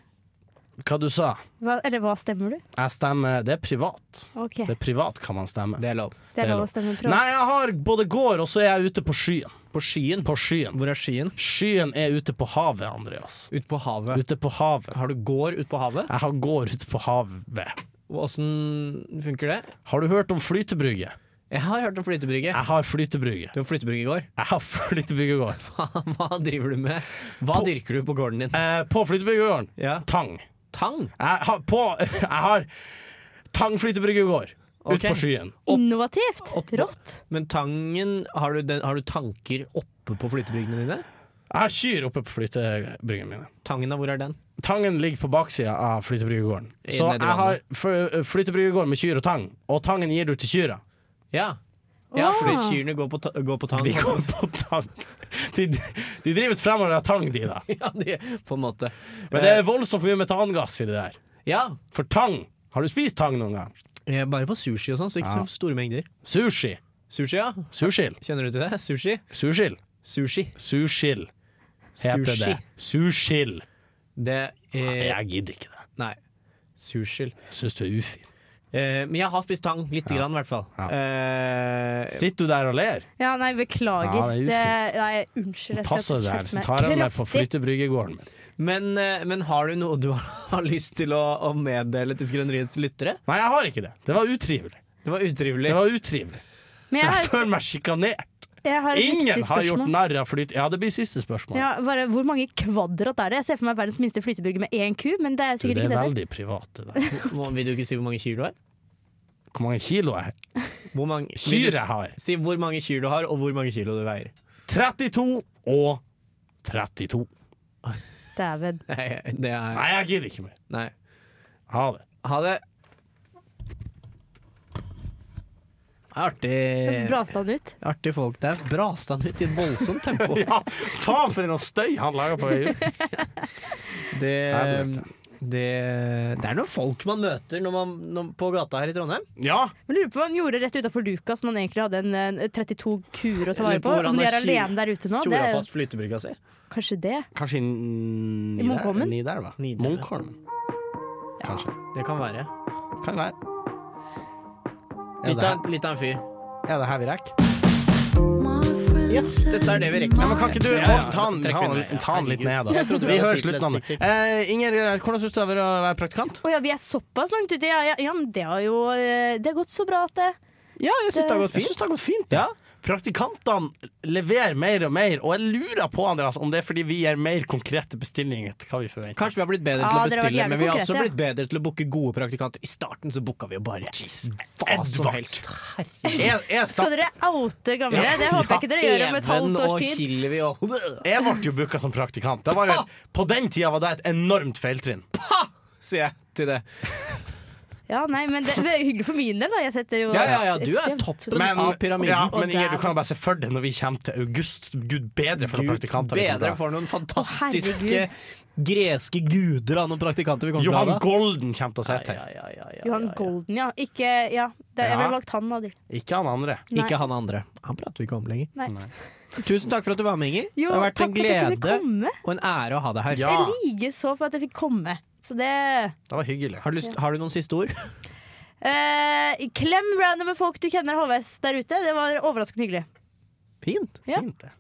C: Hva du sa?
D: Hva, eller hva stemmer du?
C: Jeg stemmer Det er privat.
D: Ok,
C: Det er privat kan man stemme.
B: Det er lov.
D: det er
C: er
D: lov
C: lov.
D: å stemme privat.
C: Nei, jeg har både gård, og så er jeg ute på skyen. På skyen? På skyen.
B: Hvor er Skien?
C: Skyen er ute på havet, Andreas.
B: Ute på havet.
C: Ute på havet.
B: Har du gård ute på havet?
C: Jeg har gård ute på havet.
B: Åssen funker det?
C: Har du hørt om flytebrygge?
B: Jeg har hørt om flytebrygge.
C: Jeg har flytebrygge.
B: Du har flytebrygge i går.
C: Jeg har flytebyggegård.
B: Hva driver du med? Hva dyrker du på gården din?
C: Eh, på flytebyggegården
B: Ja.
C: tang.
B: Tang?
C: Jeg har, på, [LAUGHS] jeg har tang flytebyggegård
B: Ok.
C: ute på skyen.
D: Innovativt! Rått!
B: Men tangen Har du, den, har du tanker oppe på flytebryggene dine?
C: Jeg har kyr oppe på flytebryggene mine.
B: Tangen, da? Hvor er den?
C: Tangen ligger på baksida av flytebryggegården.
B: I-
C: Så
B: nedi
C: jeg har fl- flytebyggegård med kyr og tang, og tangen gir du til kyra.
B: Ja. Ja,
D: Åh.
B: fordi kyrne går på, ta går på tang.
C: De går på [LAUGHS] tang. De, de drives fremover av tang, de, da.
B: [LAUGHS] ja, de, på en måte. Eh,
C: Men det er voldsomt mye metangass i det der.
B: Ja,
C: For tang Har du spist tang noen gang?
B: eh, bare på sushi og sånn, så ikke så store mengder.
C: Sushi.
B: Sushi, ja.
C: Sushil.
B: Kjenner du til det? Sushi?
C: Sushil.
B: Sushi.
C: Sushil heter
B: Sushi.
C: det. Sushil.
B: Det eh,
C: Jeg gidder ikke det.
B: Nei. Sushi.
C: Jeg syns du er ufin.
B: Eh, men jeg har spist tang. Lite grann, i hvert fall.
C: Ja.
B: Eh,
C: Sitter du der og ler?
D: Ja, nei, beklager.
C: Ja, det
D: det
C: er
D: nei, unnskyld. Jeg
C: Passer det her,
D: skjerpe
C: så
D: meg
C: tar jeg deg på
D: kraftig.
C: flytebryggegården min.
B: men, eh, men har du noe du [LAUGHS] har, har lyst til å, å meddele til Skrøneriets lyttere?
C: Nei, jeg har ikke det. Det var utrivelig.
B: Det var
C: Det
B: utrivelig.
C: var utrivelig.
D: Men jeg
C: [LAUGHS] Jeg
D: har,
C: føler meg sjikanert.
D: jeg har et
C: Ingen
D: viktig
C: har gjort
D: spørsmål.
C: narr av flyt... Ja, det blir siste spørsmål.
D: Ja, bare, hvor mange kvadrat er det? Jeg ser for meg verdens minste flytebrygge med én ku, men det er
C: Du,
D: sikkert
C: det er
D: ikke det.
C: veldig privat. det der.
B: Må- Vil du ikke si hvor mange kyr du har?
C: Hvor mange kilo jeg har?
B: Hvor mange,
C: Kyr
B: vil du s-
C: jeg har.
B: Si hvor mange kyr du har, og hvor mange kilo du veier. [LAUGHS]
C: 32 og 32.
D: der. Dæven.
B: Nei, det er
C: Nei, jeg gidder ikke mer.
B: Nei.
C: Ha det.
B: Ha det. Artig.
D: Brasta den ut?
B: Artig folk der. Brasta han ut i et voldsomt
C: [LAUGHS]
B: tempo.
C: Ja, faen for noe støy han lager på vei ut.
B: Det,
C: Helvete.
B: Det, det er noen folk man møter når man, når, på gata her i Trondheim.
C: [LAUGHS] Ja!
D: Men lurer på hva han gjorde rett utafor Lucas når han egentlig hadde en, eh, 32 kuer å ta
B: Lurer
D: vare
B: på
D: på.
B: hvor han
D: Om de er
B: har tjo-
D: alene der ute nå, det
B: Tjora
D: er
B: fast flytebrygga si.
D: kanskje det.
C: Kanskje i
D: I Munkholmen?
C: Nidelva?
B: Nidelva.
C: Munkholmen. Kanskje.
B: Det kan være.
C: Kan være. Er
B: Litt
C: det, her,
B: av, litt av en fyr.
C: er det her vi rekker?
B: Ja, dette er det vi rekker.
C: Ja, men kan ikke du
B: Ja, ja,
C: Odd, ta den-
B: trekker
C: ta den
B: den
C: litt-
B: ned.
C: ta den litt ned,
B: Herregud.
C: da?
B: Jeg trodde vi
C: Vi
B: hadde
C: hører
B: tid til
C: slutten av den.
B: et stikk til.
C: Eh, Inger, hvordan syns du det er å være praktikant?
D: Å ja, vi er såpass langt ute. Ja, ja, ja, men det har jo eh, Det har gått så bra at det
B: Ja, jeg syns det har gått
C: Jeg
B: fint.
C: syns det har gått fint. Ja. Praktikantene leverer mer og mer, og jeg lurer på Andreas, om det er fordi vi gir mer konkrete bestillinger til hva vi forventer.
B: Kanskje vi har blitt bedre
D: Ja,
B: til å
D: dere har vært
B: bestille,
D: jævlig
B: men vi har
D: konkrete,
B: også
D: ja.
B: blitt bedre til å booke gode praktikanter. I starten så booka vi jo bare hva som
C: Edvard.
B: helst.
C: Jeg, jeg,
D: [LAUGHS] Skal
C: satt,
D: dere oute gamle? Det håper jeg ikke dere gjør om et halvt års
B: og
D: tid.
B: Kilvi og
C: jeg ble jo booka som praktikant. Det var
B: Ah!
C: jo, et- på den tida var det et enormt feiltrinn.
B: sier jeg til det.
D: Ja, nei, men det, det er hyggelig for min del, da. Jeg setter jo
B: Ja, ja, ja, du er
D: ekstremt-
B: toppen. av pyramiden.
C: ja,
D: Og
C: men Inger, du
D: der-
C: kan jo bare se for deg når vi kommer til august. Gud bedre for noen
B: Gud
C: praktikanter. vi kommer til
B: bedre
C: å ha.
B: for noen fantastiske
D: herregud.
B: greske guder av noen praktikanter vi kommer til å
C: Johan
B: ha. da.
C: Golden kommer til å se
B: Ja,
C: til.
B: ja, ja, ja, ja,
D: Johan
B: ja, ja.
D: Golden, ja. Ikke Ja, det, jeg
C: Ja.
D: ville valgt han av de.
C: Ikke han andre.
D: Nei.
B: Ikke han andre. Han prater vi ikke om lenger.
D: Nei.
C: Nei.
B: Tusen takk for at du var med, Inger.
D: Jo,
B: det har vært
D: takk
B: en
D: for at jeg
B: glede
D: kunne komme.
B: og en ære å ha deg her.
C: Ja,
D: Jeg liker så for at jeg fikk komme. Så det
C: det var hyggelig.
B: Har, du lyst, har du noen siste ord? [LAUGHS]
D: eh, Klem randomme folk du kjenner halvveis der ute. Det var overraskende hyggelig.
B: Fint.
D: Ja.
C: Fint, det.